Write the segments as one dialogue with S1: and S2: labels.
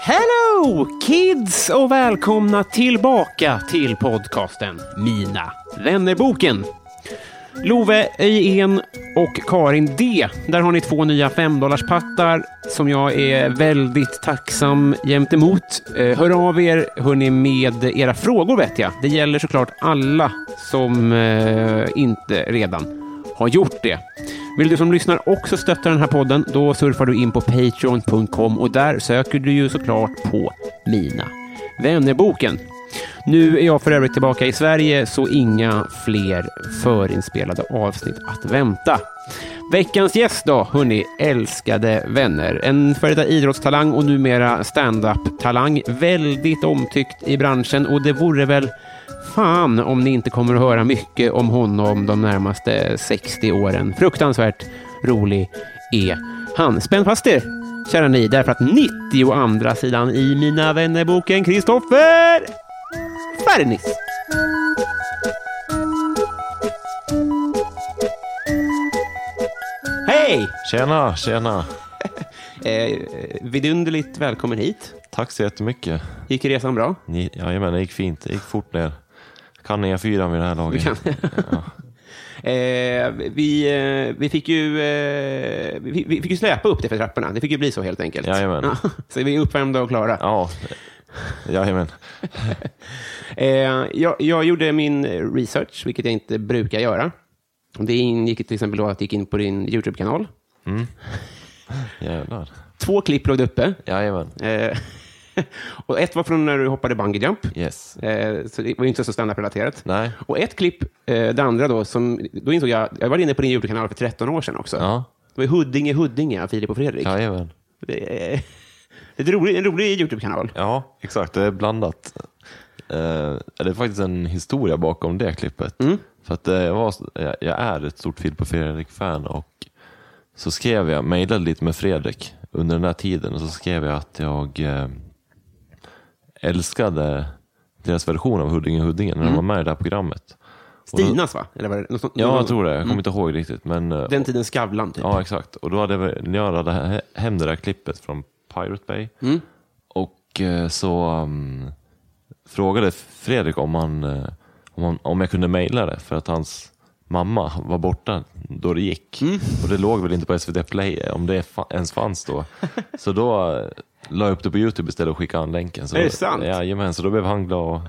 S1: Hello kids och välkomna tillbaka till podcasten Mina vännerboken. Love Öjen och Karin D. Där har ni två nya femdollarspattar som jag är väldigt tacksam jämt emot. Eh, Hör av er hörni, med era frågor vet jag. Det gäller såklart alla som eh, inte redan har gjort det. Vill du som lyssnar också stötta den här podden, då surfar du in på patreon.com och där söker du ju såklart på Mina vännerboken. Nu är jag för övrigt tillbaka i Sverige, så inga fler förinspelade avsnitt att vänta. Veckans gäst då, hörni, älskade vänner. En före detta idrottstalang och numera stand-up-talang. Väldigt omtyckt i branschen och det vore väl fan om ni inte kommer att höra mycket om honom de närmaste 60 åren. Fruktansvärt rolig är han. Spänn fast er, kära ni, därför att 90 å andra sidan i Mina vännerboken Kristoffer Fernis. Hej!
S2: Tjena, tjena.
S1: Eh, vidunderligt välkommen hit.
S2: Tack så jättemycket.
S1: Gick resan bra?
S2: Ni, jajamän, det gick fint. Det gick fort ner. Kan ni fyran vid det här laget?
S1: kan.
S2: ja.
S1: Eh, vi, eh, vi, fick ju, eh, vi, vi fick ju släpa upp det för trapporna. Det fick ju bli så helt enkelt.
S2: Jajamän.
S1: Ja, så vi är uppvärmda och klara.
S2: ja. Jajamän.
S1: Eh, jag, jag gjorde min research, vilket jag inte brukar göra. Det ingick till exempel då att jag gick in på din YouTube-kanal.
S2: Jävlar.
S1: Två klipp låg uppe.
S2: Jajamän.
S1: Eh, och ett var från när du hoppade bungee jump.
S2: Yes.
S1: Eh, så det var ju inte så standup-relaterat.
S2: Nej.
S1: Och ett klipp, eh, det andra då, som, då insåg jag, jag var inne på din YouTube-kanal för 13 år sedan också.
S2: Ja.
S1: Det var ju Huddinge, Huddinge, Filip och Fredrik.
S2: Jajamän.
S1: Det är, det är ett rolig, en rolig YouTube-kanal.
S2: Ja, exakt. Det är blandat. Eh, det är faktiskt en historia bakom det klippet. För att eh, jag, var, jag, jag är ett stort Filip och Fredrik-fan och så skrev jag, mejlade lite med Fredrik under den där tiden och så skrev jag att jag eh, älskade deras version av Huddinge Huddinge när de var med i det här programmet. Och då-
S1: Stinas, va? Eller var det, något sånt-
S2: Mm. Ja, jag tror det. Jag kommer inte ihåg riktigt. Men, eh,
S1: Den tiden Skavlan, typ.
S2: Ja, exakt. Och då hade vi, när jag hade he- hem det där klippet från Pirate Bay
S1: Mm.
S2: och eh, så um, frågade Fredrik om, han, eh, om, han, om jag kunde mejla det för att hans mamma var borta då det gick.
S1: Mm.
S2: Och det låg väl inte på SVT Play, eh, om det fa- ens fanns då. Så då eh, la jag upp det på YouTube istället och skickade han länken. Så
S1: Är det sant?
S2: Jajamän, så då blev han glad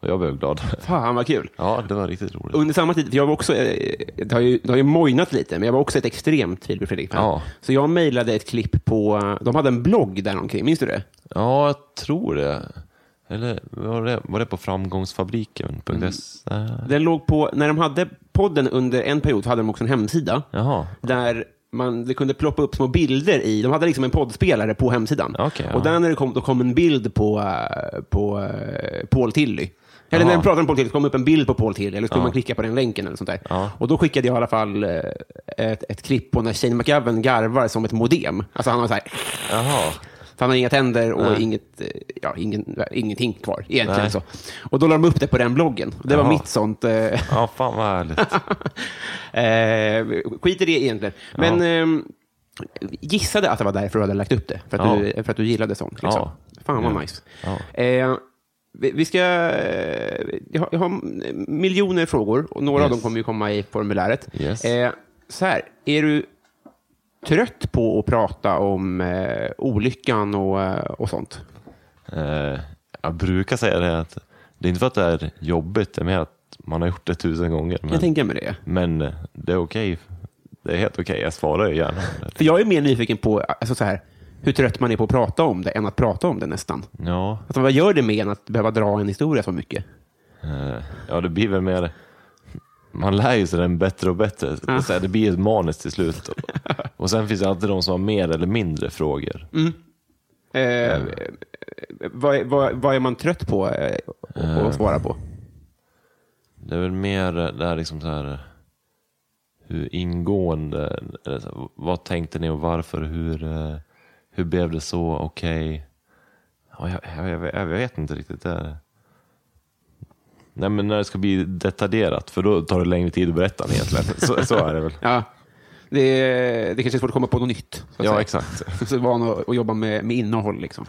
S2: och jag blev glad.
S1: Fan, vad kul.
S2: Ja, det var riktigt roligt.
S1: Under samma tid, för jag var också, eh, det har ju, det har ju mojnat lite, men jag var också ett extremt Filip och Fredrik-fan.
S2: Ja.
S1: Så jag mejlade ett klipp på, de hade en blogg där omkring, minns du det?
S2: Ja, jag tror det. Eller var det, var det på framgångsfabriken.se?
S1: Den låg på, när de hade podden under en period så hade de också en hemsida.
S2: Jaha.
S1: Där man det kunde ploppa upp små bilder i, de hade liksom en poddspelare på hemsidan.
S2: Okej,
S1: och
S2: ja.
S1: där när det kom, då kom en bild på, eh, på eh, Paul Tilly. Eller när
S2: Jaha.
S1: den pratade om Paul Tillich så kom upp en bild på Paul Tillich, eller så kunde
S2: Ja.
S1: man klicka på den länken. eller sånt där.
S2: Ja.
S1: Och då skickade jag i alla fall eh, ett, ett klipp på när Shane McGavin garvar som ett modem. Alltså han har så här,
S2: Jaha.
S1: för han har inga tänder och
S2: Nej.
S1: inget, eh, ja, ingen, ingenting kvar egentligen.
S2: Nej.
S1: Så. Och då la de upp det på den bloggen. Och det var
S2: Jaha.
S1: mitt sånt. Eh,
S2: Ja, fan vad härligt.
S1: Eh, skit i det egentligen. Men ehm, gissade att det var därför du hade lagt upp det. För att,
S2: Ja.
S1: du, för att du gillade sånt. Liksom.
S2: Ja.
S1: Fan vad
S2: Ja.
S1: nice.
S2: Ja.
S1: Eh, vi vi ska... eh, Jag har, jag har miljoner frågor och några av dem
S2: Yes.
S1: kommer ju komma i formuläret.
S2: Yes.
S1: Eh, så här, är du trött på att prata om eh, olyckan och, eh, och sånt?
S2: Eh, jag brukar säga det att det är inte för att det är jobbigt, det är mer att man har gjort det tusen gånger. Men,
S1: Jag tänker mig det.
S2: men det är okej. Det är helt okej, jag svarar ju gärna.
S1: För jag är mer nyfiken på alltså, så här, hur trött man är på att prata om det än att prata om det nästan.
S2: Ja,
S1: Alltså, vad gör det med en att behöva dra en historia så mycket?
S2: eh, ja, det blir väl mer... Man lär ju sig den bättre och bättre. Så här, det blir ett manus till slut. Och, och sen finns det alltid de som har mer eller mindre frågor.
S1: Eh, eh, vad, vad, vad är man trött på eh, att svara på?
S2: Det är väl mer det här liksom så här hur ingående, eller så här, vad tänkte ni och varför, hur, eh, hur blev det så, okej. Ja, Jag, jag, jag, jag vet inte riktigt. Det är... Nej men när det ska bli detaljerat, för då tar det längre tid att berätta egentligen. Så, så är det väl.
S1: Ja, det, det kanske är svårt att komma på något nytt. så att
S2: Ja
S1: säga.
S2: exakt,
S1: Så är van att, att jobba med, med innehåll. Liksom.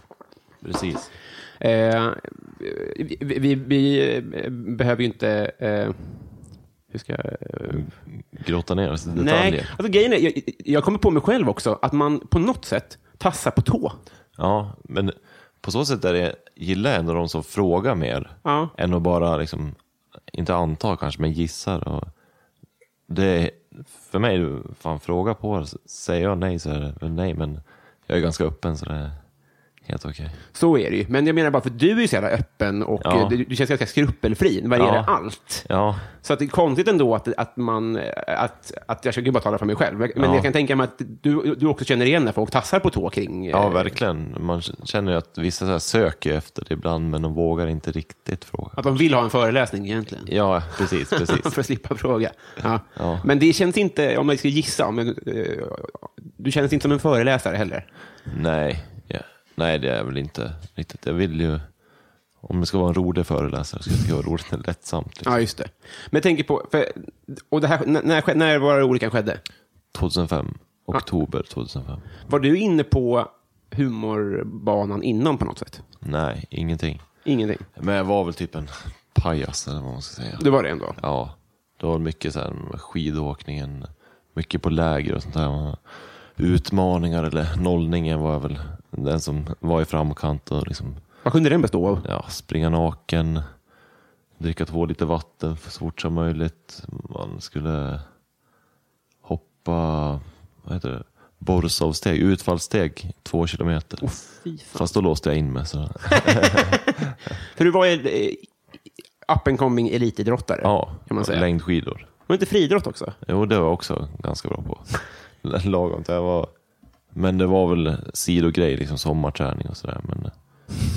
S2: precis.
S1: Eh, vi, vi, vi eh, behöver ju inte... Eh, hur ska jag...
S2: Grotta ner oss i
S1: Nej,
S2: detaljer.
S1: alltså, grejen är, jag, jag kommer på mig själv också, att man på något sätt tassar på tå.
S2: Ja, men på så sätt är det, gillar jag ändå de som frågar mer.
S1: Ja.
S2: Än att bara, liksom, inte anta kanske, men gissar. Och det är, för mig, fan fråga på det. Säger jag nej så är det väl nej, men jag är ganska öppen så det är helt okej.
S1: Så är det ju. Men jag menar bara för att du är ju så jävla öppen och
S2: Ja.
S1: eh, du, du känns ganska skrupelfri när det gäller
S2: Ja.
S1: allt.
S2: Ja,
S1: Så att det är konstigt ändå att, att, man, eh, att, att jag ska bara tala för mig själv. Men
S2: Ja.
S1: jag kan tänka mig att du, du också känner igen när folk tassar på tå kring... eh,
S2: ja, verkligen. Man känner ju att vissa så här söker efter det ibland, men de vågar inte riktigt fråga.
S1: Att de vill ha en föreläsning egentligen.
S2: Ja, precis,
S1: för
S2: precis.
S1: att slippa fråga. Ja.
S2: Ja.
S1: Men det känns inte, om jag ska gissa, men, eh, du känns inte som en föreläsare heller.
S2: nej, ja. nej, det är jag väl inte riktigt. Jag vill ju, om det ska vara en rolig föreläsare, så ska det vara roligt och lättsamt. Liksom.
S1: Ja, just det. Men jag tänker på, för, och det här, när, när, när var det olyckan skedde?
S2: 2005, oktober 2005.
S1: Var du inne på humorbanan innan på något sätt?
S2: Nej, ingenting.
S1: Ingenting.
S2: Men jag var väl typ en pajas eller vad man ska säga.
S1: Det var det ändå.
S2: Ja, det var mycket så här med skidåkningen, mycket på läger och sånt där. Utmaningar eller nollningen var jag väl den som var i framkant och liksom,
S1: Vad kunde den bestå av?
S2: ja, springa naken, dricka två liter vatten för så fort som möjligt. Man skulle hoppa, vad heter det? Borsovsteg, utfallssteg, två kilometer. Fast då låste jag in mig. Så.
S1: För du var ju eh, up and coming elitidrottare.
S2: Ja,
S1: Kan man säga.
S2: längdskidor.
S1: Var det inte friidrott också?
S2: Jo, det var jag också ganska bra på. Lagom. Det var... Men det var väl sidogrej, liksom sommarträning och sådär. Men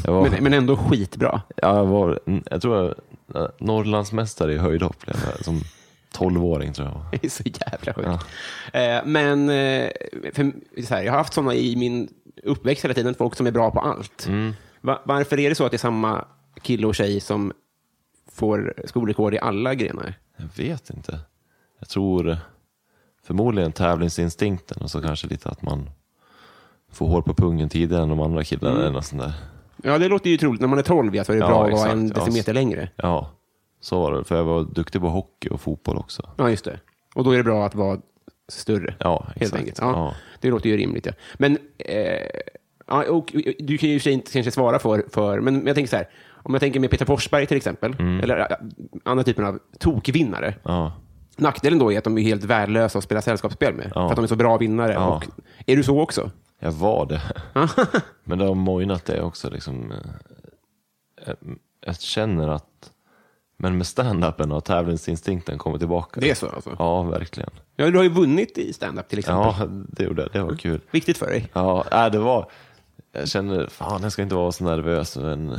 S2: jag var,
S1: Men, men ändå skitbra.
S2: Ja, jag, var, jag tror jag Norrlandsmästare i höjdhopp blev jag som 12-åring tror jag.
S1: Det är så jävla sjukt. Eh, men eh, för, så här, jag har haft sådana i min uppväxt hela tiden, folk som är bra på allt. Va, varför är det så att det är samma kille och tjej som får skolrekord i alla grenar?
S2: Jag vet inte. Jag tror eh, förmodligen tävlingsinstinkten och så kanske lite att man får hår på pungen tidigare än de andra killarna.
S1: Mm.
S2: Eller något sånt där.
S1: Ja, det låter ju troligt. När man är 12 ja, så är det
S2: Ja,
S1: bra att vara
S2: exakt.
S1: en
S2: Ja,
S1: decimeter
S2: så-
S1: längre.
S2: Ja, så var det. För jag var duktig på hockey och fotboll också.
S1: Ja, just det. Och då är det bra att vara större.
S2: Ja,
S1: Helt
S2: exakt.
S1: enkelt. Ja, Det låter ju rimligt. Ja. Men, eh, ja, och, du kan ju i och för sig inte kanske svara för, för, men jag tänker så här. Om jag tänker med Peter Forsberg till exempel,
S2: Mm.
S1: eller ja, andra typen av tokvinnare.
S2: ja.
S1: Nackdelen då är att de är helt värdelösa att spela sällskapsspel med, för att de är så bra vinnare.
S2: Ja.
S1: Och, är du så också?
S2: Jag var det. Men det har mojnat det också. Liksom, Eh, jag, jag känner att... Men med stand-upen har tävlingsinstinkten kommit tillbaka.
S1: Det är så alltså?
S2: Ja, verkligen.
S1: Ja, du har ju vunnit i stand-up till exempel. Mm.
S2: Ja, det gjorde jag. Det var kul.
S1: Viktigt för dig.
S2: Ja, äh, det var... Jag kände, fan jag ska inte vara så nervös. Men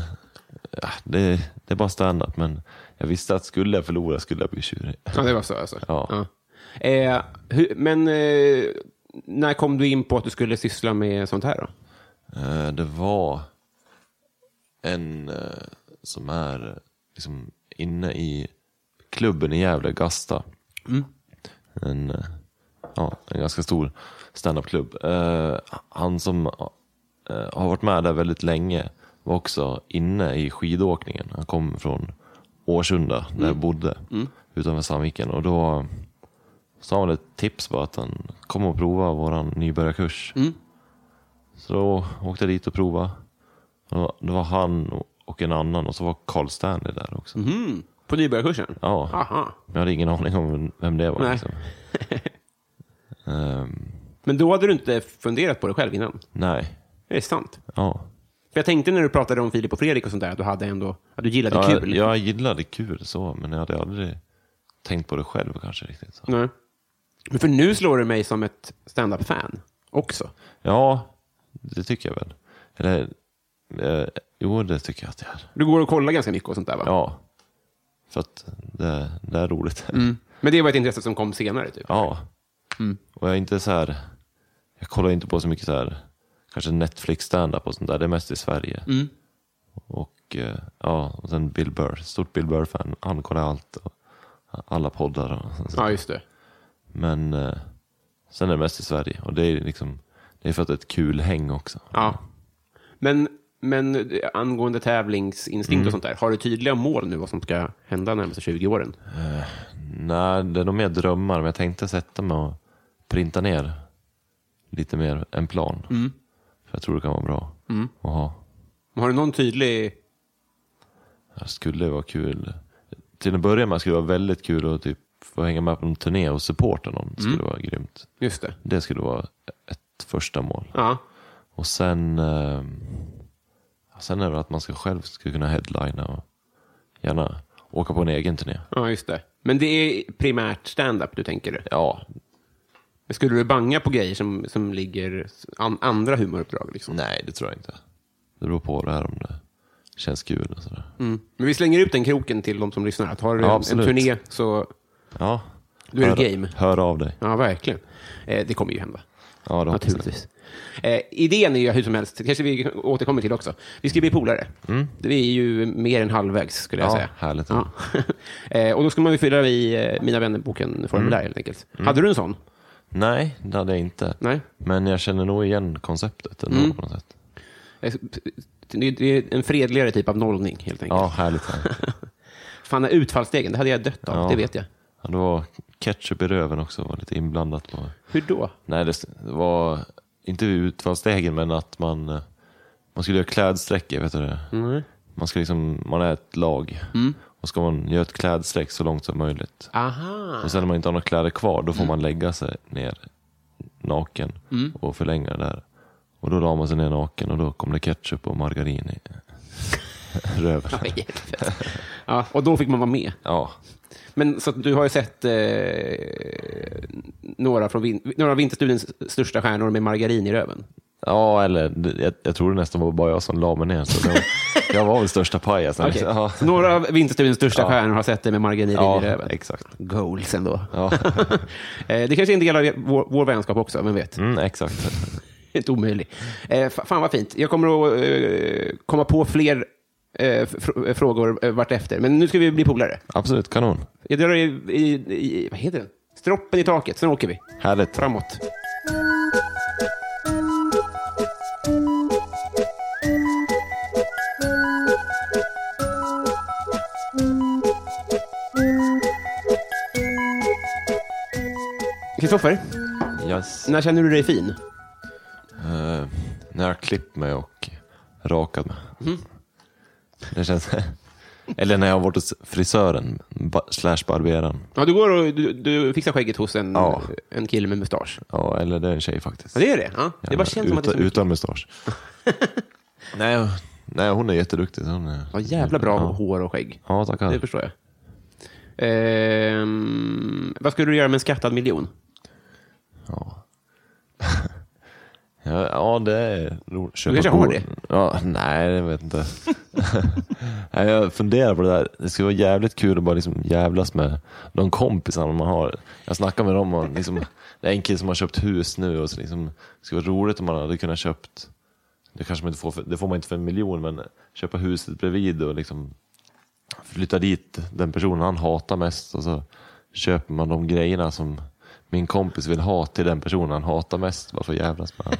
S2: ja, det, det är bara standard, men jag visste att skulle jag förlora skulle jag bli tjurig.
S1: Ja, det var så alltså.
S2: Ja.
S1: Eh, hur, men eh, när kom du in på att du skulle syssla med sånt här då?
S2: Eh, Det var en eh, som är eh, liksom inne i klubben i Gävle, Gasta. En, eh, ja, en ganska stor standupklubb. Eh, Han som eh, har varit med där väldigt länge var också inne i skidåkningen. Han kom från Årsunda där jag bodde utanför Sandviken. Och då sa han ett tips bara att han kom och prova våran nybörjarkurs. Så då åkte jag dit och provade. Och då- Det var han och en annan och så var Carl Stanley där också.
S1: Mm. På nybörjarkursen?
S2: Ja,
S1: Aha.
S2: men jag hade ingen aning om vem det var.
S1: Nej.
S2: Liksom. Ehm,
S1: Men då hade du inte funderat på det själv innan?
S2: nej,
S1: Det är sant.
S2: ja.
S1: För jag tänkte när du pratade om Filip och Fredrik och sånt där att du hade ändå, att du gillade
S2: Jag,
S1: kul.
S2: jag gillade kul så, men jag hade aldrig tänkt på det själv kanske riktigt. Så.
S1: Nej. Men för nu slår du mig som ett stand-up-fan också.
S2: Ja, det tycker jag väl. Eller, eh, jo, det tycker jag att det är.
S1: Du går och kollar ganska mycket och sånt där va?
S2: Ja, för att det, det är roligt.
S1: Mm. Men det var ett intresse som kom senare typ?
S2: Ja. Och jag är inte så här, jag kollar inte på så mycket så här, kanske Netflix standup och sånt där, det är mest i Sverige.
S1: Mm.
S2: Och eh, ja, och sen Bill Burr, stort Bill Burr-fan, han kollar allt och alla poddar och så.
S1: Ja, just det.
S2: Men eh, sen är det mest i Sverige och det är liksom, det är för att det är ett kul häng också.
S1: Ja. Men, men angående tävlingsinstinkt och sånt där, har du tydliga mål nu vad som ska hända närmaste 20 åren?
S2: Nej, det är nog mer drömmar, men jag tänkte sätta mig och printa ner lite mer en plan.
S1: Mm.
S2: För jag tror det kan vara bra att ha.
S1: Har du någon tydlig...
S2: Det skulle vara kul. Till att börja med skulle det vara väldigt kul att typ få hänga med på en turné och supporta någon. Det skulle
S1: Mm.
S2: vara grymt.
S1: Just det.
S2: Det skulle vara ett första mål.
S1: Ja.
S2: Och sen, eh, sen är det väl att man ska själv skulle kunna headlina och gärna åka på en egen turné.
S1: ja, just det. Men det är primärt stand-up du tänker?
S2: Ja,
S1: Men Skulle du banga på grejer som, som ligger an, andra humoruppdrag? Liksom?
S2: nej det tror jag inte. Det beror på det här om det känns kul och sådär.
S1: Mm. Men vi slänger ut den kroken till de som lyssnar. Att har du
S2: Ja,
S1: en, en
S2: absolut.
S1: turné så...
S2: Ja.
S1: Då är det
S2: hör,
S1: game.
S2: hör av dig.
S1: Ja, verkligen. Eh, det kommer ju hända.
S2: Ja, det hoppas jag.
S1: Naturligtvis. Eh, idén är ju hur som helst, det kanske vi återkommer till också. Vi ska bli polare. Vi är ju mer än halvvägs skulle jag
S2: Mm. Ja,
S1: säga.
S2: härligt.
S1: Ja. eh, och då ska man ju fylla i eh, Mina vänner-boken formulär
S2: Mm.
S1: helt enkelt. Hade du en sån?
S2: Nej, det hade jag inte.
S1: Nej.
S2: Men jag känner nog igen konceptet ändå
S1: Mm.
S2: på något sätt.
S1: Eh, Det är- det är en fredligare typ av nollning helt enkelt.
S2: Ja, härligt. härligt.
S1: Fan, utfallsstegen, det hade jag dött av,
S2: Ja.
S1: det vet jag.
S2: Ja, det var ketchup i röven också, var lite inblandat. På.
S1: Hur då?
S2: Nej, det var inte utfallsstegen, men att man, eh, man skulle göra klädsträck. Vet du det? Man, ska liksom, man är ett lag och ska man göra ett klädsträck så långt som möjligt.
S1: Aha.
S2: Och sen när man inte har några kläder kvar, då får man lägga sig ner naken och förlänga det där. Och då la man sig ner naken och då kom det ketchup och margarin i röven.
S1: Vad i helvete. Ja, och då fick man vara med.
S2: Ja,
S1: Men så att du har ju sett eh, några, från vin- några av Vinterstudions största stjärnor med margarin i röven.
S2: Ja, eller det- jag, jag tror det nästan var bara jag som la mig ner. Så det var, jag var väl största pajasen.
S1: Okej.
S2: Ja,
S1: Så några av Vinterstudions största
S2: Ja.
S1: stjärnor har sett dig med margarin
S2: ja
S1: i röven.
S2: exakt.
S1: Goals ändå.
S2: Ja.
S1: Eh, det kanske är en del av vår, vår vänskap också, vem vet?
S2: Mm, exakt.
S1: Inte omöjlig. Eh, fa- fan vad fint. Jag kommer att eh, komma på fler eh, fr- eh, frågor eh, vartefter. Men nu ska vi bli polare.
S2: Absolut, kanon.
S1: Jag drar i, i, i, vad heter den? Stroppen i taket, sen åker vi.
S2: Härligt.
S1: Framåt. Kristoffer,
S2: Yes.
S1: när känner du dig fin?
S2: Eh, när jag har klippt mig och rakat mig.
S1: Mm.
S2: Det känns... Eller när jag har varit hos frisören ba, slash barberaren.
S1: Ja, du går och du, du fixar skägget hos en,
S2: Ja.
S1: en kille med mustasch.
S2: Ja, eller det är en tjej faktiskt.
S1: Ja, det är det. Ja. Det bara känns som att det är så mycket.
S2: Utan mustasch. nej, nej, hon är jätteduktig. Hon är...
S1: Ja, jävla bra
S2: Ja.
S1: hår och skägg.
S2: Ja,
S1: Det
S2: tackar.
S1: förstår jag. Ehm, vad skulle du göra med en skattad miljon?
S2: Ja. Ja, ja det är roligt. Köpa
S1: kanske har
S2: god-
S1: det?
S2: Ja, nej, jag vet inte. nej, jag funderar på det där. Det skulle vara jävligt kul att bara liksom jävlas med de kompisarna man har. Jag snackar med dem och liksom, det är en kille som har köpt hus nu och så liksom, det skulle vara roligt om man hade kunnat köpt, det kanske man inte får, för, det får man inte för en miljon, men köpa huset bredvid och liksom flytta dit den personen han hatar mest och så köper man de grejerna som min kompis vill ha till den personen han hatar mest. Varför jävlas man?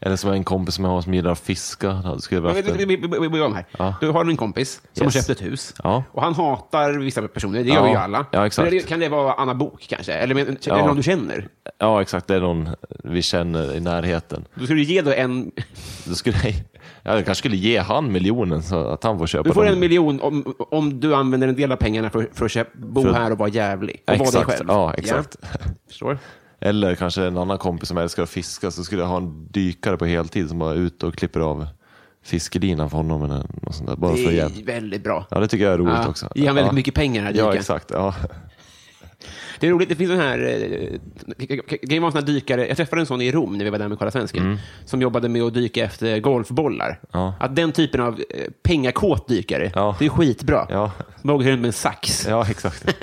S2: Eller som en kompis som jag har som gillar att fiska. Han skulle
S1: Vi
S2: väl haft
S1: vi-
S2: en-
S1: vi- vi- vi börjar om här.
S2: Ja.
S1: Du har en kompis som
S2: Yes.
S1: har köpt ett hus.
S2: Ja.
S1: Och han hatar vissa personer, det
S2: Ja.
S1: gör vi ju alla.
S2: Ja, exakt.
S1: Men det- Kan det vara Anna Bok kanske? Eller, men, är det
S2: Ja.
S1: någon du känner?
S2: Ja, exakt. Det är någon vi känner i närheten.
S1: Då skulle du ge då en...
S2: Då skulle jag, ja, jag kanske skulle ge han miljonen så att han får köpa
S1: Du får
S2: dem.
S1: en miljon om, om du använder en del av pengarna för, för att köpa, bo
S2: För-
S1: här och vara jävlig. Och
S2: Exakt.
S1: vara dig själv.
S2: Ja, exakt.
S1: Ja, förstår.
S2: Eller kanske en annan kompis som älskar att fiska så skulle jag ha en dykare på heltid som bara är ute och klipper av fiskelinan för honom. Eller något sånt där, bara
S1: Det
S2: för hjälp.
S1: är väldigt bra.
S2: Ja, det tycker jag är roligt
S1: Ja,
S2: också.
S1: ger han väldigt
S2: ja.
S1: mycket pengar här,
S2: Ja,
S1: dykaren.
S2: exakt. Ja.
S1: Det är roligt, det finns en här... eh, Det kan ju vara en sån här dykare. Jag träffade en sån i Rom när vi var där med Karla Svensken. Som jobbade med att dyka efter golfbollar.
S2: Mm. Ja.
S1: Att den typen av eh, pengakåt dykare,
S2: Ja.
S1: det är skitbra.
S2: Ja.
S1: Som åker runt med en sax.
S2: ja, exakt.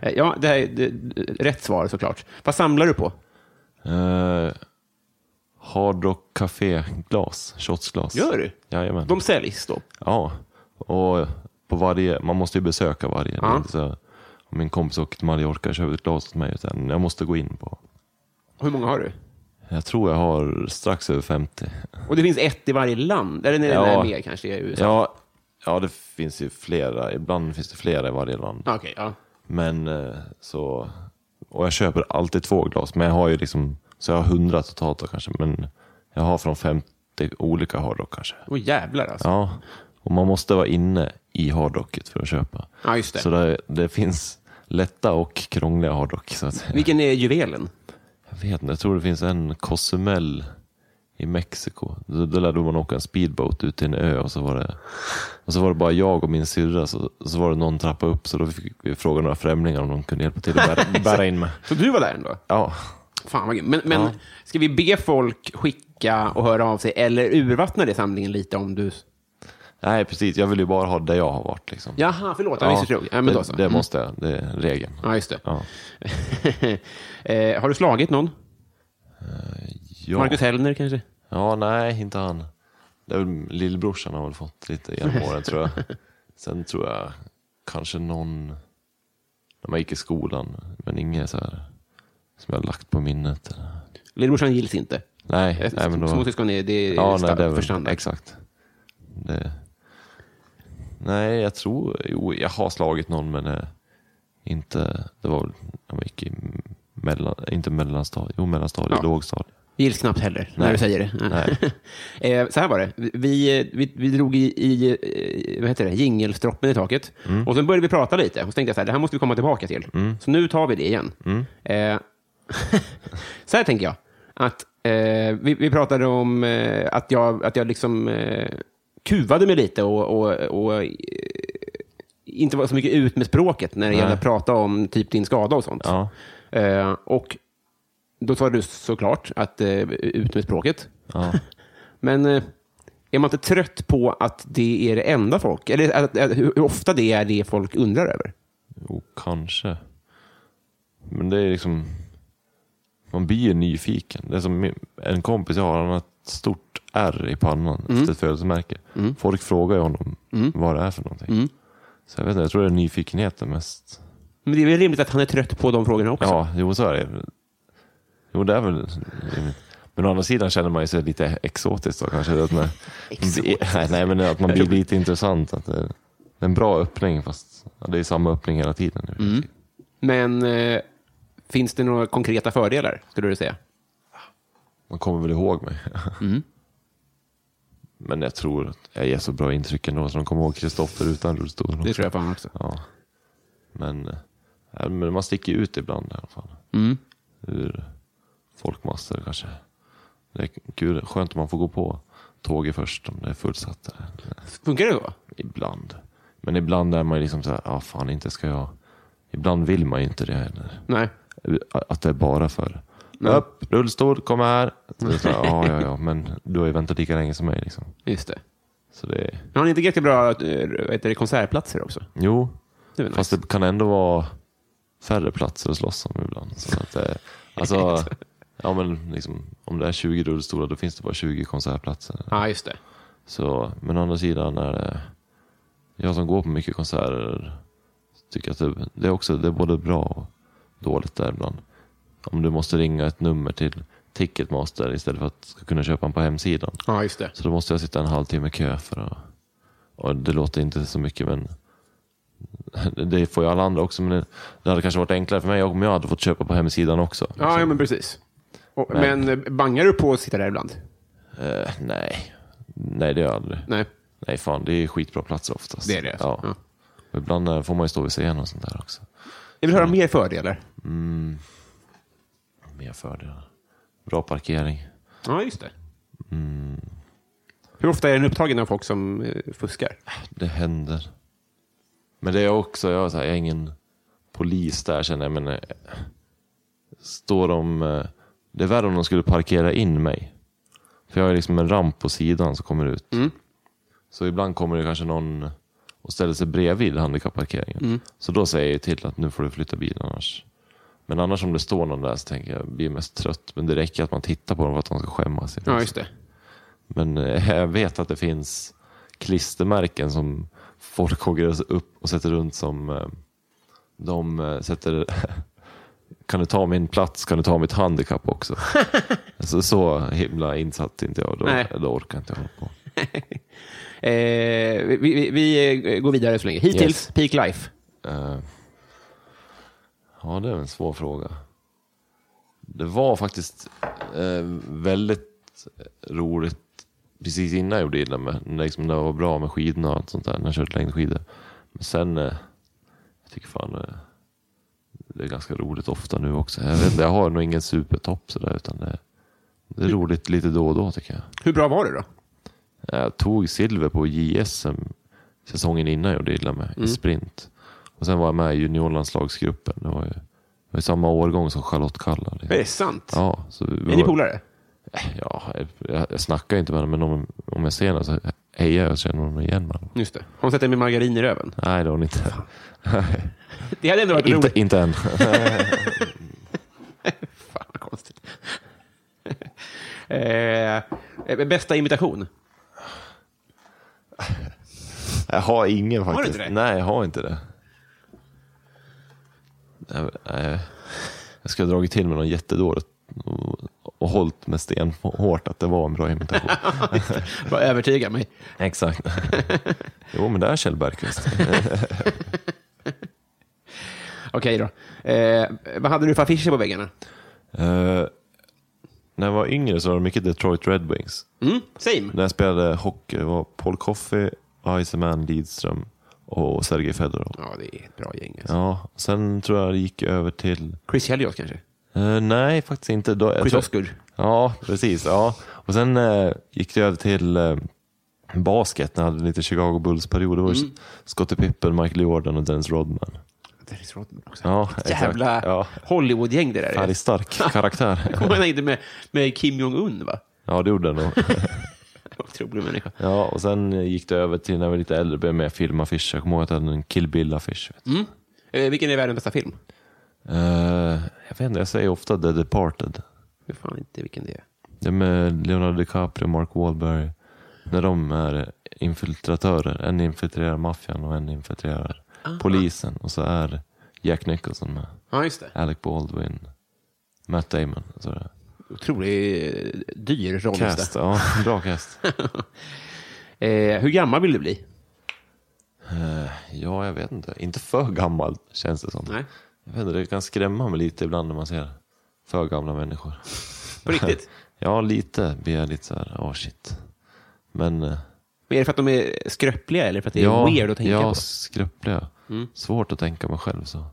S1: Eh, Ja, det här är det, det- rätt svar såklart. Vad samlar du på?
S2: uh, hard Rock Café-glas, shotsglas.
S1: Gör du?
S2: Jajamän.
S1: De säljs då.
S2: Ja, och på varje, man måste ju besöka varje. Det är
S1: Ja.
S2: inte så här, om min kompis åker till Mallorca och köper ett glas till mig. Utan jag måste gå in på...
S1: Hur många har du?
S2: Jag tror jag har strax över 50.
S1: Och det finns ett i varje land. Eller nej,
S2: Ja.
S1: nej, mer kanske i USA.
S2: Ja, ja, det finns ju flera. Ibland finns det flera i varje land.
S1: Ja. Ah, Okej, ja.
S2: Men eh, så... Och jag köper alltid två glas, men jag har ju liksom... Så jag har hundra totalt då kanske, men jag har från 50 olika hardrock kanske.
S1: Åh jävlar alltså.
S2: Ja, och man måste vara inne i hardrocket för att köpa.
S1: Ja, just det.
S2: Så det, det finns lätta och krångliga hardrock. Så att,
S1: Vilken är juvelen?
S2: jag vet inte, jag tror det finns en Cozumel i Mexiko. Då, då lärde man åka en speedboat ut till en ö och så var det, och så var det bara jag och min syrra. Så, så var det någon trappa upp så då fick vi fråga några främlingar om de kunde hjälpa till att bära, bära in mig.
S1: Så du var där ändå?
S2: Ja,
S1: Fan vad grymt. Men, men
S2: Ja.
S1: ska vi be folk skicka och höra av sig eller urvattna det samlingen lite om du...
S2: nej precis. Jag vill ju bara ha där jag har varit. Liksom.
S1: Jaha, förlåt. Jag missuppfattade. Ja, men då så. Mm.
S2: det, det måste jag. Det är regeln.
S1: Ja, just det.
S2: Ja.
S1: eh, har du slagit någon?
S2: Ja.
S1: Marcus Hellner kanske?
S2: Ja, nej, inte han. Det är väl, lillbrorsan har väl fått lite genom åren tror jag. Sen tror jag kanske någon, när man gick i skolan, men inget så här som jag har lagt på minnet.
S1: Lillebrorsan gills inte.
S2: Nej, nej men då...
S1: Småsyskon är, det är
S2: ja, nej,
S1: sta-
S2: det är
S1: för
S2: väl,
S1: standard.
S2: exakt. Det, nej, jag tror, jo, jag har slagit någon men eh, inte, det var väl när man gick i mellan, inte mellanstadiet, jo mellanstadiet,
S1: Ja.
S2: lågstadiet.
S1: Gills knappt heller, när
S2: Nej.
S1: du säger det.
S2: Nej.
S1: eh, så här var det. Vi, eh, vi, vi drog i, i eh, vad heter det? jingelstroppen i taket.
S2: Mm.
S1: Och sen började vi prata lite. Och så tänkte jag så här, det här måste vi komma tillbaka till. Så nu tar vi det igen.
S2: Mm.
S1: Eh, så här tänker jag. Att, eh, vi, vi pratade om eh, att jag, att jag liksom eh, kuvade mig lite och, och, och eh, inte var så mycket ut med språket när det
S2: Nej.
S1: gäller att prata om typ din skada och sånt.
S2: Ja.
S1: Eh, och då sa du såklart att eh, ut med språket.
S2: Ja.
S1: Men eh, är man inte trött på att det är det enda folk, eller att, att, hur hur ofta det är det folk undrar över?
S2: Jo, kanske. Men det är liksom... Man blir ju nyfiken. Det är som min- en kompis jag har, han har ett stort R i pannan efter ett födelsemärke. Folk frågar ju honom vad det är för någonting. Så jag vet inte, jag tror det är nyfikenheten mest.
S1: Men det är väl rimligt att han är trött på de frågorna också?
S2: Ja, jo så är det. Jo, det är väl... Men å andra sidan känner man ju sig lite exotiskt då kanske. Att man, nej, nej, men att man blir lite intressant. Att det det är en bra öppning, fast ja, det är samma öppning hela tiden. nu.
S1: Men eh, finns det några konkreta fördelar, skulle du säga?
S2: Man kommer väl ihåg mig. Men jag tror att jag ger så bra intryck ändå, så de kommer ihåg Kristoffer utan rullstol.
S1: Det tror jag fan också.
S2: Ja. Men, eh, ja, men man sticker ju ut ibland i alla fall. Ur folkmassor kanske. Det är kul, skönt om man får gå på tåget först om det är fullsatt. Där.
S1: Funkar det då?
S2: Ibland. Men ibland är man ju liksom så här, ah, fan inte ska jag. Ibland vill man ju inte det heller.
S1: Nej.
S2: Att det är bara för upp, rullstol, kom här. Så jag sa, ja, ja, ja, men du har ju väntat lika länge som mig. Liksom.
S1: Just det.
S2: Så det,
S1: Har ni inte jättebra eh, vad heter det, konsertplatser också?
S2: jo,
S1: Det är väl
S2: fast
S1: nice.
S2: det kan ändå vara färre platser att slåss om ibland. Så att, eh, alltså, ja, men liksom, om det är 20 rullstolar då finns det bara 20 konsertplatser.
S1: Ja, just det.
S2: Så, men å andra sidan är det, jag som går på mycket konserter tycker att det, det är också det är både bra och dåligt där ibland. Om du måste ringa ett nummer till Ticketmaster istället för att kunna köpa den på hemsidan.
S1: Ja, just det.
S2: Så då måste jag sitta en halvtimme i kö för att... Och det låter inte så mycket men... Det får ju alla andra också men det, det hade kanske varit enklare för mig om jag hade fått köpa på hemsidan också.
S1: Ja, ja men precis. Och,
S2: Men-
S1: men eh, bangar du på att sitta där ibland?
S2: Eh, nej. Nej det gör jag aldrig.
S1: Nej.
S2: Nej fan, det är skitbra platser oftast.
S1: Det är det, alltså.
S2: Ja.
S1: Ja.
S2: Och ibland eh, får man ju stå vid scenen och sånt där också.
S1: Jag vill höra mer fördelar.
S2: Mer fördelar. Bra parkering.
S1: Ja, just det. Hur ofta är den upptagen av folk som eh, fuskar?
S2: Det händer. Men det är också, jag, är så här, jag är ingen polis där känner jag, men eh, står de... eh, Det är värre om de skulle parkera in mig. För jag är liksom en ramp på sidan som kommer ut.
S1: Mm.
S2: Så ibland kommer det kanske någon och ställer sig bredvid handikapparkeringen.
S1: Mm.
S2: Så då säger jag ju till att nu får du flytta bilen annars. Men annars om det står någon där så tänker jag, jag blir mest trött. Men det räcker att man tittar på dem för att de ska skämmas. sig.
S1: Ja, just det.
S2: Men eh, jag vet att det finns klistermärken som folk hugger upp och sätter runt som eh, de eh, sätter kan du ta min plats, kan du ta mitt handikapp också? så, så himla insatt är inte jag,
S1: Nej.
S2: då, då orkar inte jag hålla på.
S1: Eh, vi, vi, vi eh, går vidare så länge. Hittills,
S2: Yes.
S1: peak life.
S2: Eh, Ja, det är en svår fråga. Det var faktiskt eh, väldigt roligt precis innan jag gjorde illa mig. När liksom det var bra med skidorna och allt sånt där. När jag körde längdskidor. Men sen, eh, jag tycker fan eh, det är ganska roligt ofta nu också. Jag, vet, inte, jag har nog ingen supertopp sådär utan det, det är roligt lite då och då tycker jag.
S1: Hur bra var du då?
S2: Jag Eh, tog silver på JSM säsongen innan jag gjorde illa mig i sprint. Och sen var jag med i juniorlandslagsgruppen. Det var ju, det var ju samma årgång som Charlotte Kalla. liksom.
S1: Är det sant?
S2: Ja, så vi
S1: Är
S2: var-
S1: ni polare?
S2: Ja, jag, jag snackar inte med henne, men om, om jag ser henne så hejar jag och känner honom igen. Man.
S1: Just det. Har hon sett dig med margarin i röven?
S2: Nej, det har hon inte.
S1: Det hade ändå varit
S2: inte,
S1: roligt.
S2: inte än.
S1: Fan vad konstigt. eh, eh, bästa imitation?
S2: Jag har ingen
S1: du
S2: faktiskt.
S1: inte det?
S2: Nej, jag har inte det. Jag, nej. jag skulle ha dragit till med någon jättedåligt och, och hållit med sten hårt att det var en bra imitation.
S1: Bara övertyga mig.
S2: Exakt. jo, men det är Kjell Bergqvist.
S1: Okej då. Eh, vad hade du för affischer på väggarna?
S2: Eh, när jag var yngre så var det mycket Detroit Red Wings.
S1: Mm, same.
S2: När jag spelade hockey det var Paul Coffey, Iceman Lidström och Sergej Fedorov.
S1: Ja, det är ett bra gäng. Alltså.
S2: Ja, sen tror jag det gick över till...
S1: Chris Helios kanske?
S2: eh, nej, faktiskt inte. Då, jag
S1: Chris
S2: tror-
S1: Oscar?
S2: Ja, precis. Ja. Och sen eh, gick det över till eh, basket när jag hade lite Chicago Bulls-period. Det var mm. Scottie Pippen, Michael Jordan och Dennis Rodman.
S1: Dennis Rodman också.
S2: Ja, exakt.
S1: Jävla
S2: Ja.
S1: Hollywood-gäng det där är.
S2: Färgstark karaktär.
S1: Kommer han inte med, med Kim Jong-Un, va?
S2: Ja, det gjorde den nog.
S1: Otrolig människa.
S2: Ja, och sen gick det över till när jag var lite äldre började med filmaffischer. Jag kommer ihåg att jag hade en Kill Bill-affisch. vet du.
S1: Eh, vilken är världens bästa film?
S2: Eh, jag vet inte, jag säger ofta The Departed.
S1: Jag vet fan inte vilken det är.
S2: Det är med Leonardo DiCaprio och Mark Wahlberg. När de är infiltratörer. En infiltrerar maffian och en infiltrerar polisen. Och så är Jack Nicholson med.
S1: Ja, just det.
S2: Alec Baldwin. Matt Damon. Så det.
S1: Otroligt eh, dyr roll. just
S2: Cast,
S1: det.
S2: ja. Bra cast.
S1: Eh, hur gammal vill du bli?
S2: ja, jag vet inte. Inte för gammal känns det som.
S1: Nej.
S2: Jag vet inte, det kan skrämma mig lite ibland när man ser för gamla människor.
S1: På riktigt?
S2: ja, lite blir jag lite så här, åh shit. Men... eh,
S1: Men är det för att de är skröpliga eller för att det är weird att tänka
S2: ja,
S1: på? Mm.
S2: skröpliga. Svårt att tänka mig själv så.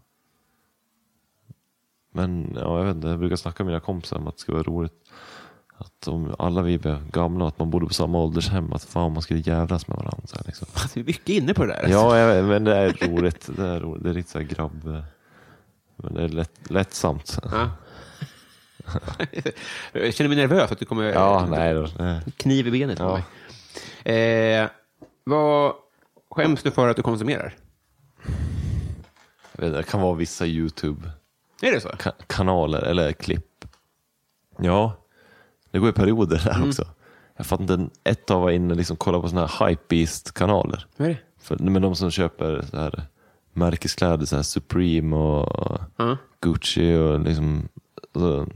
S2: Men ja, jag vet inte, jag brukar snacka med mina kompisar om att det skulle vara roligt. Att om alla vi blev gamla, att man bodde på samma åldershem, att fan man skulle jävlas med varandra. Så här, liksom.
S1: Alltså, vi är mycket inne på det där. alltså.
S2: Ja, jag vet, men det är roligt. Det eh, är, roligt. Det är lite så här grabb... Men det är lätt, lättsamt.
S1: Ja. jag känner mig nervös att du kommer eh,
S2: Ja, nej då. nej.
S1: kniv i benet på
S2: Ja.
S1: mig. Eh, vad skäms du för att du konsumerar?
S2: Jag vet inte, Det kan vara vissa YouTube-kanaler
S1: Är det så?
S2: eller klipp. Ja, det går i perioder där också. Jag fattar inte, ett tag var jag inne och liksom kollade på såna här hypebeast-kanaler.
S1: Vad är det?
S2: För, men de som köper så här märkeskläder, så här Supreme och
S1: Ja.
S2: Gucci och liksom... Alltså,